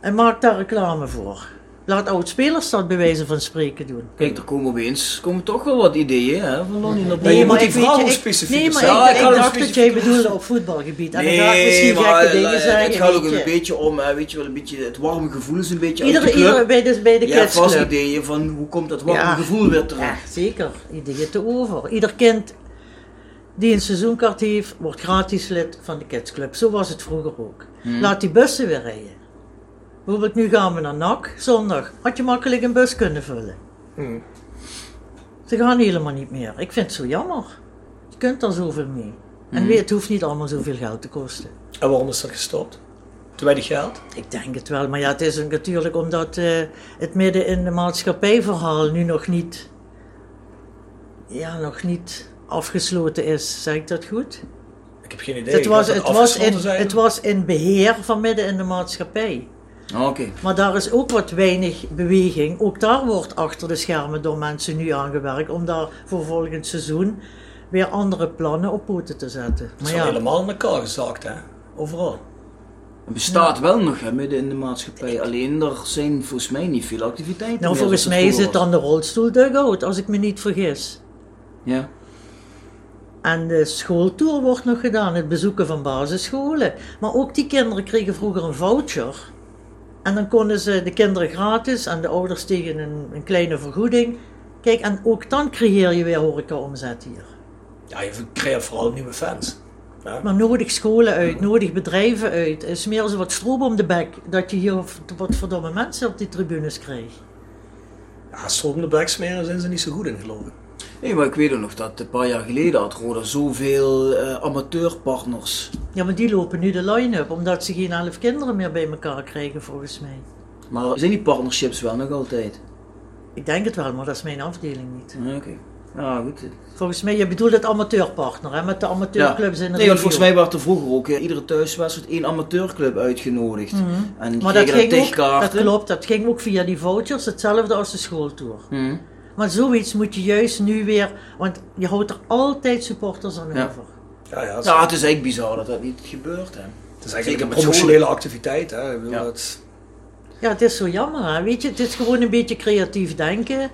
[SPEAKER 9] En maak daar reclame voor. Laat oud-spelers dat bij wijze van spreken doen.
[SPEAKER 8] Kijk, er komen opeens komen toch wel wat ideeën hè, van
[SPEAKER 7] Nee,
[SPEAKER 8] Lonnie naar
[SPEAKER 7] je
[SPEAKER 8] boven.
[SPEAKER 7] moet
[SPEAKER 9] maar
[SPEAKER 7] die
[SPEAKER 9] ik weet
[SPEAKER 7] vrouw
[SPEAKER 9] je, ik-
[SPEAKER 7] specifiek
[SPEAKER 9] Nee, maar
[SPEAKER 7] zijn. Ja,
[SPEAKER 9] ik,
[SPEAKER 7] ik
[SPEAKER 9] ik
[SPEAKER 7] kan hem
[SPEAKER 9] dacht dat jij
[SPEAKER 7] specifiek-
[SPEAKER 9] bedoelde op voetbalgebied. En dan ga ik misschien gekke dingen
[SPEAKER 8] eh,
[SPEAKER 9] zeggen.
[SPEAKER 8] het gaat ook
[SPEAKER 9] weet
[SPEAKER 8] een
[SPEAKER 9] je.
[SPEAKER 8] beetje om, hè, weet je wel, een beetje het warme gevoel is een beetje
[SPEAKER 9] Iedere,
[SPEAKER 8] uit de club.
[SPEAKER 9] iedere- bij de, bij de
[SPEAKER 8] Je hebt
[SPEAKER 9] kidsclub.
[SPEAKER 8] vast ideeën van hoe komt dat warme
[SPEAKER 9] Ja.
[SPEAKER 8] gevoel weer terug.
[SPEAKER 9] Ja, zeker. Ideeën te over. Ieder kind die een seizoenkaart heeft, wordt gratis lid van de kidsclub. Zo was het vroeger ook. Laat die bussen weer rijden. Bijvoorbeeld nu gaan we naar NAC, zondag. Had je makkelijk een bus kunnen vullen. Ze gaan helemaal niet meer. Ik vind het zo jammer. Je kunt daar zoveel mee. En weer, het hoeft niet allemaal zoveel geld te kosten.
[SPEAKER 7] En waarom is dat gestopt? Te weinig geld?
[SPEAKER 9] Ik denk het wel, maar ja, het is een- natuurlijk omdat eh, het midden in de maatschappijverhaal nu nog niet, ja, nog niet afgesloten is. Zeg ik dat goed?
[SPEAKER 7] Ik heb geen idee.
[SPEAKER 9] het,
[SPEAKER 7] Ik
[SPEAKER 9] was,
[SPEAKER 7] dacht
[SPEAKER 9] het,
[SPEAKER 7] dat
[SPEAKER 9] was in,
[SPEAKER 7] afgesloten zijn.
[SPEAKER 9] het was in beheer van midden in de maatschappij.
[SPEAKER 8] Ah, Oké.
[SPEAKER 9] Maar daar is ook wat weinig beweging. Ook daar wordt achter de schermen door mensen nu aangewerkt om daar voor volgend seizoen weer andere plannen op poten te zetten.
[SPEAKER 7] Het
[SPEAKER 9] Maar
[SPEAKER 7] is
[SPEAKER 9] ja, nou,
[SPEAKER 7] helemaal in elkaar gezakt, hè? Overal.
[SPEAKER 8] Het bestaat wel nog hè, midden in de maatschappij. Alleen er zijn volgens mij niet veel activiteiten.
[SPEAKER 9] nou,
[SPEAKER 8] meer
[SPEAKER 9] volgens
[SPEAKER 8] zoals
[SPEAKER 9] mij is
[SPEAKER 8] vroeger
[SPEAKER 9] het dan de rolstoel dugout, als ik me niet vergis.
[SPEAKER 8] was. Ja.
[SPEAKER 9] En de schooltour wordt nog gedaan, het bezoeken van basisscholen. Maar ook die kinderen kregen vroeger een voucher. En dan konden ze de kinderen gratis en de ouders tegen een, een kleine vergoeding. Kijk, en ook dan creëer je weer horecaomzet hier.
[SPEAKER 7] Ja, je creëert vooral nieuwe fans.
[SPEAKER 9] Maar nodig scholen uit, nodig bedrijven uit. Eh, Smeer ze wat stroop om de bek, dat je hier wat verdomme mensen op die tribunes krijgt.
[SPEAKER 7] Ja, stroom de bek smeren zijn ze niet zo goed in, geloof ik.
[SPEAKER 8] Nee, maar ik weet ook nog dat een paar jaar geleden had Roda zoveel eh, amateurpartners.
[SPEAKER 9] Ja, maar die lopen nu de line-up, omdat ze geen elf kinderen meer bij elkaar krijgen, volgens mij.
[SPEAKER 8] Maar zijn die partnerships wel nog altijd?
[SPEAKER 9] Ik denk het wel, maar dat is mijn afdeling niet.
[SPEAKER 8] Ja, Oké. Ja, goed.
[SPEAKER 9] Volgens mij, je bedoelt het amateurpartner, hè, met de amateurclubs in de
[SPEAKER 8] nee, want
[SPEAKER 9] regio.
[SPEAKER 8] volgens mij werd er vroeger ook eh, iedere thuiswedstrijd één amateurclub uitgenodigd. En die
[SPEAKER 9] Mhm. Maar dat
[SPEAKER 8] kregen dan
[SPEAKER 9] ging ook, dat
[SPEAKER 8] techkaarten.
[SPEAKER 9] klopt, dat ging ook via die vouchers, hetzelfde als de schooltour.
[SPEAKER 8] Mhm.
[SPEAKER 9] Maar zoiets moet je juist nu weer, want je houdt er altijd supporters aan
[SPEAKER 8] Ja.
[SPEAKER 9] over.
[SPEAKER 7] Ja, ja. Het is,
[SPEAKER 8] Ja, het is echt bizar dat dat niet gebeurt, hè.
[SPEAKER 7] het is eigenlijk
[SPEAKER 8] zeker
[SPEAKER 7] een
[SPEAKER 8] met
[SPEAKER 7] promotionele activiteit, hè? Ik bedoel,
[SPEAKER 8] Ja.
[SPEAKER 7] dat-
[SPEAKER 9] Ja, het is zo jammer. Hè? Weet je, het is gewoon een beetje creatief denken.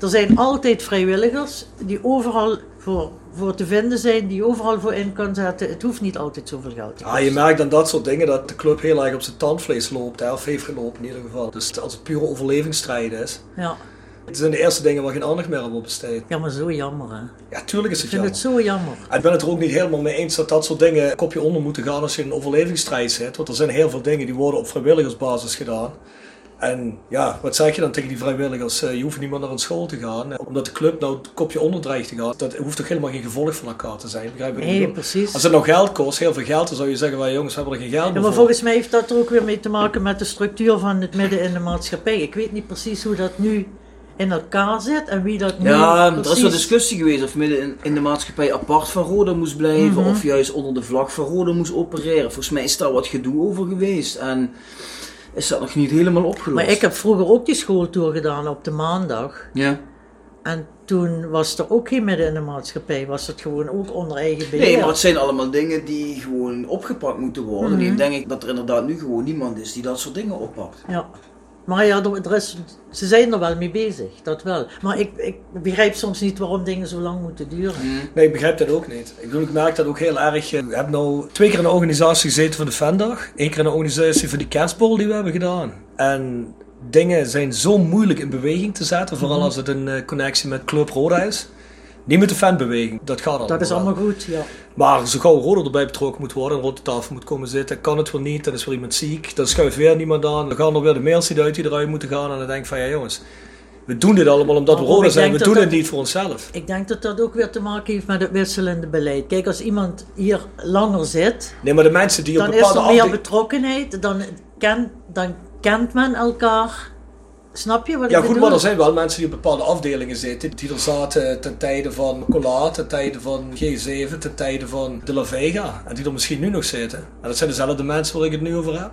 [SPEAKER 9] Er zijn altijd vrijwilligers die overal voor, voor te vinden zijn, die je overal voor in kan zetten. Het hoeft niet altijd zoveel geld te
[SPEAKER 7] Ja, Ah, je merkt dan dat soort dingen dat de club heel erg op zijn tandvlees loopt, hè, of heeft gelopen in ieder geval. Dus als het pure overlevingsstrijd is,
[SPEAKER 9] kosten. Ja.
[SPEAKER 7] het zijn de eerste dingen waar geen aandacht meer op besteedt.
[SPEAKER 9] ja, maar zo jammer. Hè? Ik
[SPEAKER 7] Ja, tuurlijk is het
[SPEAKER 9] vind
[SPEAKER 7] jammer.
[SPEAKER 9] het zo jammer.
[SPEAKER 7] Ik ben het er ook niet helemaal mee eens dat dat soort dingen een kopje onder moeten gaan als je in een overlevingsstrijd zit. Want er zijn heel veel dingen die worden op vrijwilligersbasis gedaan. En ja, wat zeg je dan tegen die vrijwilligers? Eh, Je hoeft niet meer naar een school te gaan. Eh, Omdat de club nou het kopje onder dreigt te gaan. Dat hoeft toch helemaal geen gevolg van elkaar te zijn? Begrijp je wat ik
[SPEAKER 9] Nee,
[SPEAKER 7] bedoel?
[SPEAKER 9] precies.
[SPEAKER 7] Als het nou geld kost, heel veel geld, dan zou je zeggen, "Wij jongens, we hebben er geen geld
[SPEAKER 9] Ja,
[SPEAKER 7] meer
[SPEAKER 9] maar
[SPEAKER 7] voor."
[SPEAKER 9] volgens mij heeft dat er ook weer mee te maken met de structuur van het midden in de maatschappij. Ik weet niet precies hoe dat nu in elkaar zit en wie dat nu
[SPEAKER 8] Ja, er
[SPEAKER 9] precies...
[SPEAKER 8] is wel discussie geweest of midden in, in de maatschappij apart van Roda moest blijven
[SPEAKER 9] Mhm.
[SPEAKER 8] of juist onder de vlag van Roda moest opereren. Volgens mij is daar wat gedoe over geweest en is dat nog niet helemaal opgelost.
[SPEAKER 9] Maar ik heb vroeger ook die schooltour gedaan op de maandag.
[SPEAKER 8] Ja.
[SPEAKER 9] En toen was er ook geen midden in de maatschappij, was het gewoon ook onder eigen beheer.
[SPEAKER 8] Nee, maar het zijn allemaal dingen die gewoon opgepakt moeten worden.
[SPEAKER 9] Mhm.
[SPEAKER 8] Ik denk ik dat er inderdaad nu gewoon niemand is die dat soort dingen oppakt.
[SPEAKER 9] Ja. Maar ja, er, er is, ze zijn er wel mee bezig, dat wel. Maar ik, ik begrijp soms niet waarom dingen zo lang moeten duren.
[SPEAKER 7] Nee, ik begrijp dat ook niet. Ik bedoel, ik merk dat ook heel erg. Ik heb nou twee keer in een organisatie gezeten van de Vendag. Eén keer in een organisatie van die kerstbol die we hebben gedaan. En dingen zijn zo moeilijk in beweging te zetten. Vooral
[SPEAKER 9] Mhm.
[SPEAKER 7] als het een eh, connectie met Club Roda is. Niet met de fanbeweging, dat gaat allemaal.
[SPEAKER 9] Dat is
[SPEAKER 7] wel.
[SPEAKER 9] allemaal goed, ja.
[SPEAKER 7] Maar zo gauw Roda erbij betrokken moet worden, en rond de tafel moet komen zitten, kan het wel niet, dan is weer iemand ziek, dan schuift weer niemand aan, dan gaan er weer de mails die eruit die eruit moeten gaan en dan denk ik van ja jongens, we doen dit allemaal omdat we
[SPEAKER 9] Maar Rob,
[SPEAKER 7] Roda
[SPEAKER 9] ik
[SPEAKER 7] zijn, we
[SPEAKER 9] denk
[SPEAKER 7] doen
[SPEAKER 9] dat
[SPEAKER 7] het
[SPEAKER 9] dat-
[SPEAKER 7] niet voor onszelf.
[SPEAKER 9] Ik denk dat dat ook weer te maken heeft met het wisselende beleid. Kijk, als iemand hier langer zit,
[SPEAKER 7] Nee, maar de mensen die op
[SPEAKER 9] dan is
[SPEAKER 7] bepaalde
[SPEAKER 9] er meer
[SPEAKER 7] afde-
[SPEAKER 9] betrokkenheid, dan, ken, dan kent men elkaar. Snap je wat
[SPEAKER 7] Ja,
[SPEAKER 9] ik
[SPEAKER 7] goed,
[SPEAKER 9] bedoel?
[SPEAKER 7] maar er zijn wel mensen die op bepaalde afdelingen zitten. Die er zaten ten tijde van Colaat, ten tijde van G7, ten tijde van De La Vega. En die er misschien nu nog zitten. En dat zijn dezelfde mensen waar ik het nu over heb.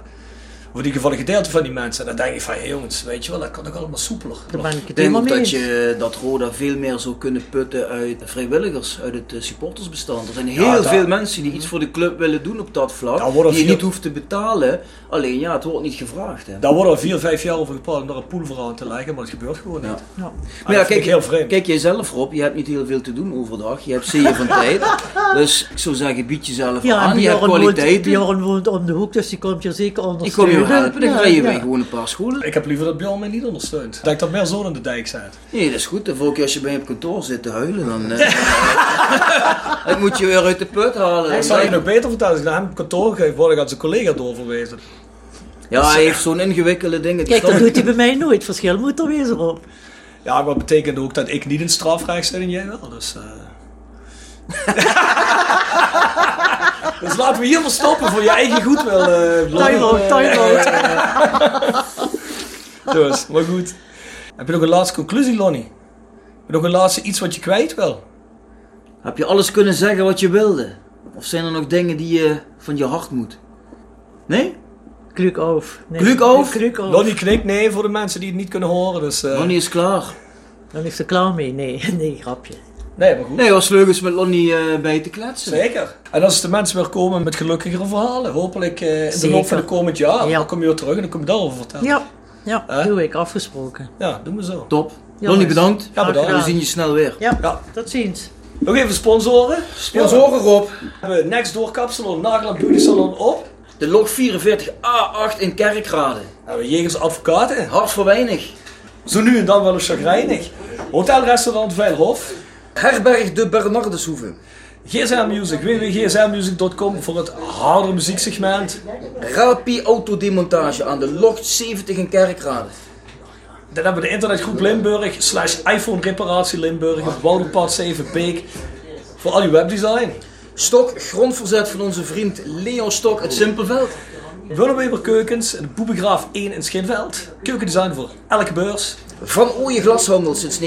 [SPEAKER 7] Over die gevallen gedeelte van die mensen. En dan denk ik van, hé jongens, weet je wel, dat kan ook allemaal soepeler.
[SPEAKER 9] Daar ben ik
[SPEAKER 8] Ik
[SPEAKER 9] het
[SPEAKER 8] denk
[SPEAKER 9] helemaal
[SPEAKER 8] ook
[SPEAKER 9] mee
[SPEAKER 8] dat,
[SPEAKER 9] eens.
[SPEAKER 8] je, eh, dat Roda veel meer zou kunnen putten uit vrijwilligers, uit het eh, supportersbestand. Er zijn heel
[SPEAKER 7] Ja, daar- Mhm.
[SPEAKER 8] veel mensen die iets voor de club willen doen op dat vlak,
[SPEAKER 7] Daar worden
[SPEAKER 8] die je
[SPEAKER 7] veel-
[SPEAKER 8] niet hoeft te betalen. Alleen ja, het wordt niet gevraagd. Hè.
[SPEAKER 7] Daar worden al vier, vijf jaar over gepraat om daar een pool voor aan te leggen, maar het gebeurt gewoon niet.
[SPEAKER 9] Ja.
[SPEAKER 8] Maar
[SPEAKER 7] Ah, dat vind ik heel vreemd.
[SPEAKER 8] Kijk jezelf op, je hebt niet heel veel te doen overdag. Je hebt zeer van
[SPEAKER 7] *laughs*
[SPEAKER 8] tijd. Dus ik zou zeggen, bied jezelf
[SPEAKER 9] Ja, en
[SPEAKER 8] aan. Je hebt
[SPEAKER 9] Bjorn woont,
[SPEAKER 8] kwaliteiten.
[SPEAKER 9] Bjorn woont om de hoek, dus die komt je zeker
[SPEAKER 8] ik
[SPEAKER 9] ondersteunen.
[SPEAKER 8] kom je helpen, dan
[SPEAKER 9] Ja,
[SPEAKER 8] ga je weer
[SPEAKER 9] ja.
[SPEAKER 8] gewoon een paar scholen.
[SPEAKER 7] Ik heb liever dat Björn mij niet ondersteunt. Dat ik dat meer zo in de dijk zet.
[SPEAKER 8] Nee, dat is goed. De vorige keer als je bij hem op kantoor zit te huilen,
[SPEAKER 7] *laughs*
[SPEAKER 8] dan... eh *laughs* dat moet je weer uit de put halen.
[SPEAKER 7] Ik
[SPEAKER 8] Dan
[SPEAKER 7] zou je
[SPEAKER 8] denk-
[SPEAKER 7] nog beter vertellen als ik naar hem op kantoor geef, word ik aan zijn collega doorverwezen.
[SPEAKER 8] Ja, hij heeft zo'n ingewikkelde dingen.
[SPEAKER 9] Kijk, dat doet hij bij mij nooit. Verschil moet er wezen op.
[SPEAKER 7] Ja, maar betekent ook dat ik niet in strafrecht zit en jij wel. Dus, eh. *laughs* dus laten we hier maar stoppen voor je eigen goedwil. eh, Blanne.
[SPEAKER 9] Timeout, timeout.
[SPEAKER 7] dus, maar goed. Heb je nog een laatste conclusie, Lonnie? Heb je nog een laatste iets wat je kwijt wil?
[SPEAKER 8] Heb je alles kunnen zeggen wat je wilde? Of zijn er nog dingen die je van je hart moet? Nee?
[SPEAKER 9] Kluk af. Nee,
[SPEAKER 8] Kluk af?
[SPEAKER 9] Kluk af.
[SPEAKER 7] Lonnie knikt nee voor de mensen die het niet kunnen horen. Dus, eh,
[SPEAKER 8] Lonnie is klaar.
[SPEAKER 9] Dan is ze klaar mee. Nee, *laughs* nee, grapje.
[SPEAKER 7] Nee, maar goed.
[SPEAKER 8] Nee, het was leuk eens met Lonnie eh, bij te kletsen.
[SPEAKER 7] Zeker. En als de mensen weer komen met gelukkigere verhalen, hopelijk eh, in de
[SPEAKER 9] Zeker.
[SPEAKER 7] loop van de komend jaar,
[SPEAKER 9] Ja.
[SPEAKER 7] dan kom je weer terug en dan kom je daarover vertellen.
[SPEAKER 9] Ja, ja,
[SPEAKER 7] Hè?
[SPEAKER 9] doe ik. Afgesproken.
[SPEAKER 7] Ja, doen we zo.
[SPEAKER 8] Top.
[SPEAKER 9] Jongens,
[SPEAKER 8] Lonnie, bedankt.
[SPEAKER 7] Ja,
[SPEAKER 9] graag
[SPEAKER 7] bedankt.
[SPEAKER 8] We
[SPEAKER 9] gedaan.
[SPEAKER 8] zien je snel weer.
[SPEAKER 9] Ja,
[SPEAKER 7] Ja.
[SPEAKER 9] tot ziens.
[SPEAKER 7] Nog even sponsoren.
[SPEAKER 8] Sponsoren op.
[SPEAKER 7] We hebben Next Door Kapsalon, Nageland Beauty Salon op.
[SPEAKER 8] De log 44A8 in Kerkrade.
[SPEAKER 7] We hebben Jegers Advocaten.
[SPEAKER 8] Hard voor weinig.
[SPEAKER 7] Zo nu en dan wel een chagrijnig. Hotel Restaurant Veilhof.
[SPEAKER 8] Herberg de Bernardeshoeve.
[SPEAKER 7] GSM Music, www.gsmmusic.com voor het harde muzieksegment.
[SPEAKER 8] Rapi Autodemontage aan de log 70 in Kerkrade.
[SPEAKER 7] Dan hebben we de internetgroep Limburg, slash iPhone Reparatie Limburg, op Woudenpad 7 Beek. Voor al je webdesign.
[SPEAKER 8] Stok, grondverzet van onze vriend Leon Stok uit Simpelveld.
[SPEAKER 7] Willeweber Keukens, de Boebegraaf 1 in Schinveld. Keukendesign voor elke beurs.
[SPEAKER 8] Van Ooyen Glashandel sinds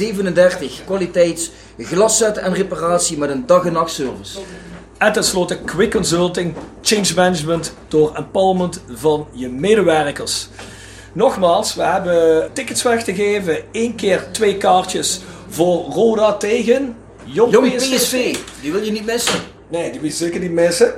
[SPEAKER 8] 1937. Kwaliteits glaszetten en reparatie met een dag- en nachtservice.
[SPEAKER 7] En tenslotte Quick Consulting, Change Management door empowerment van je medewerkers. Nogmaals, we hebben tickets weg te geven. Eén keer twee kaartjes voor Roda tegen Jong,
[SPEAKER 8] Jong PSV, die wil je niet missen.
[SPEAKER 7] Nee, die wil je zeker niet missen.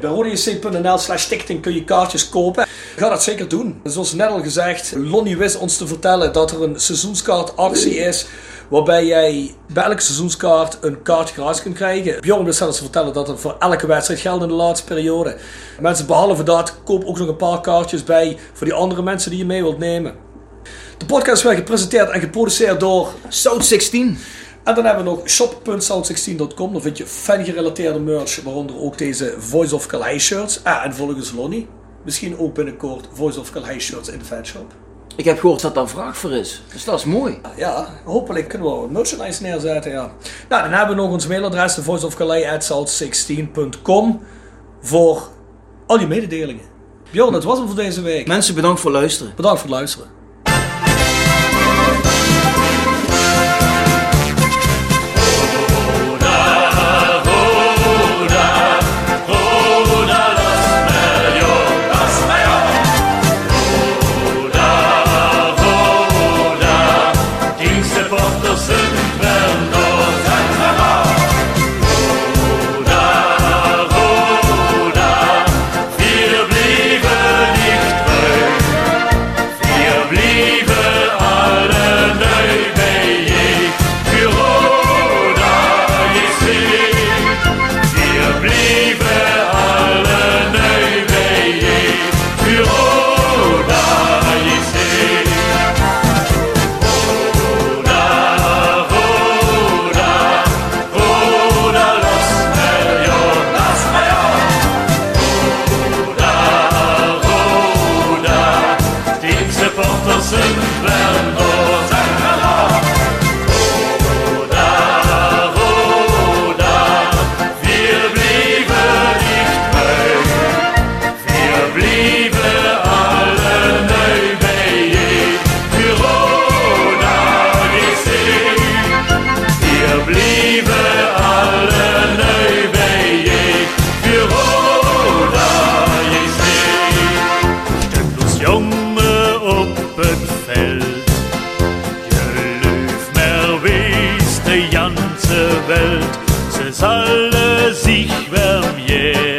[SPEAKER 7] Bij rodejc.nl slash stichting kun je kaartjes kopen. Ga dat zeker doen. Zoals net al gezegd, Lonnie wist ons te vertellen dat er een seizoenskaartactie is. Waarbij jij bij elke seizoenskaart een kaart gratis kunt krijgen. Bjorn wist zelfs te vertellen dat er voor elke wedstrijd geldt in de laatste periode. Mensen, behalve dat, koop ook nog een paar kaartjes bij voor die andere mensen die je mee wilt nemen. De podcast werd gepresenteerd en geproduceerd door
[SPEAKER 8] South 16.
[SPEAKER 7] en dan hebben we nog shop.sound16.com. Daar vind je fan-gerelateerde merch, waaronder ook deze Voice of Calais shirts. Ah, en volgens Lonnie, misschien ook binnenkort Voice of Calais shirts in de fanshop.
[SPEAKER 8] Ik heb gehoord dat daar vraag voor is. Dus dat is mooi.
[SPEAKER 7] Ja, hopelijk kunnen we wat merchandise neerzetten, ja. Nou, dan hebben we nog ons mailadres, de Voice of Calais 16com voor al je mededelingen. Bjorn, dat was hem voor deze week.
[SPEAKER 8] Mensen, bedankt voor luisteren.
[SPEAKER 7] Bedankt voor het luisteren.
[SPEAKER 10] ganze Welt, ze alle sich wärm je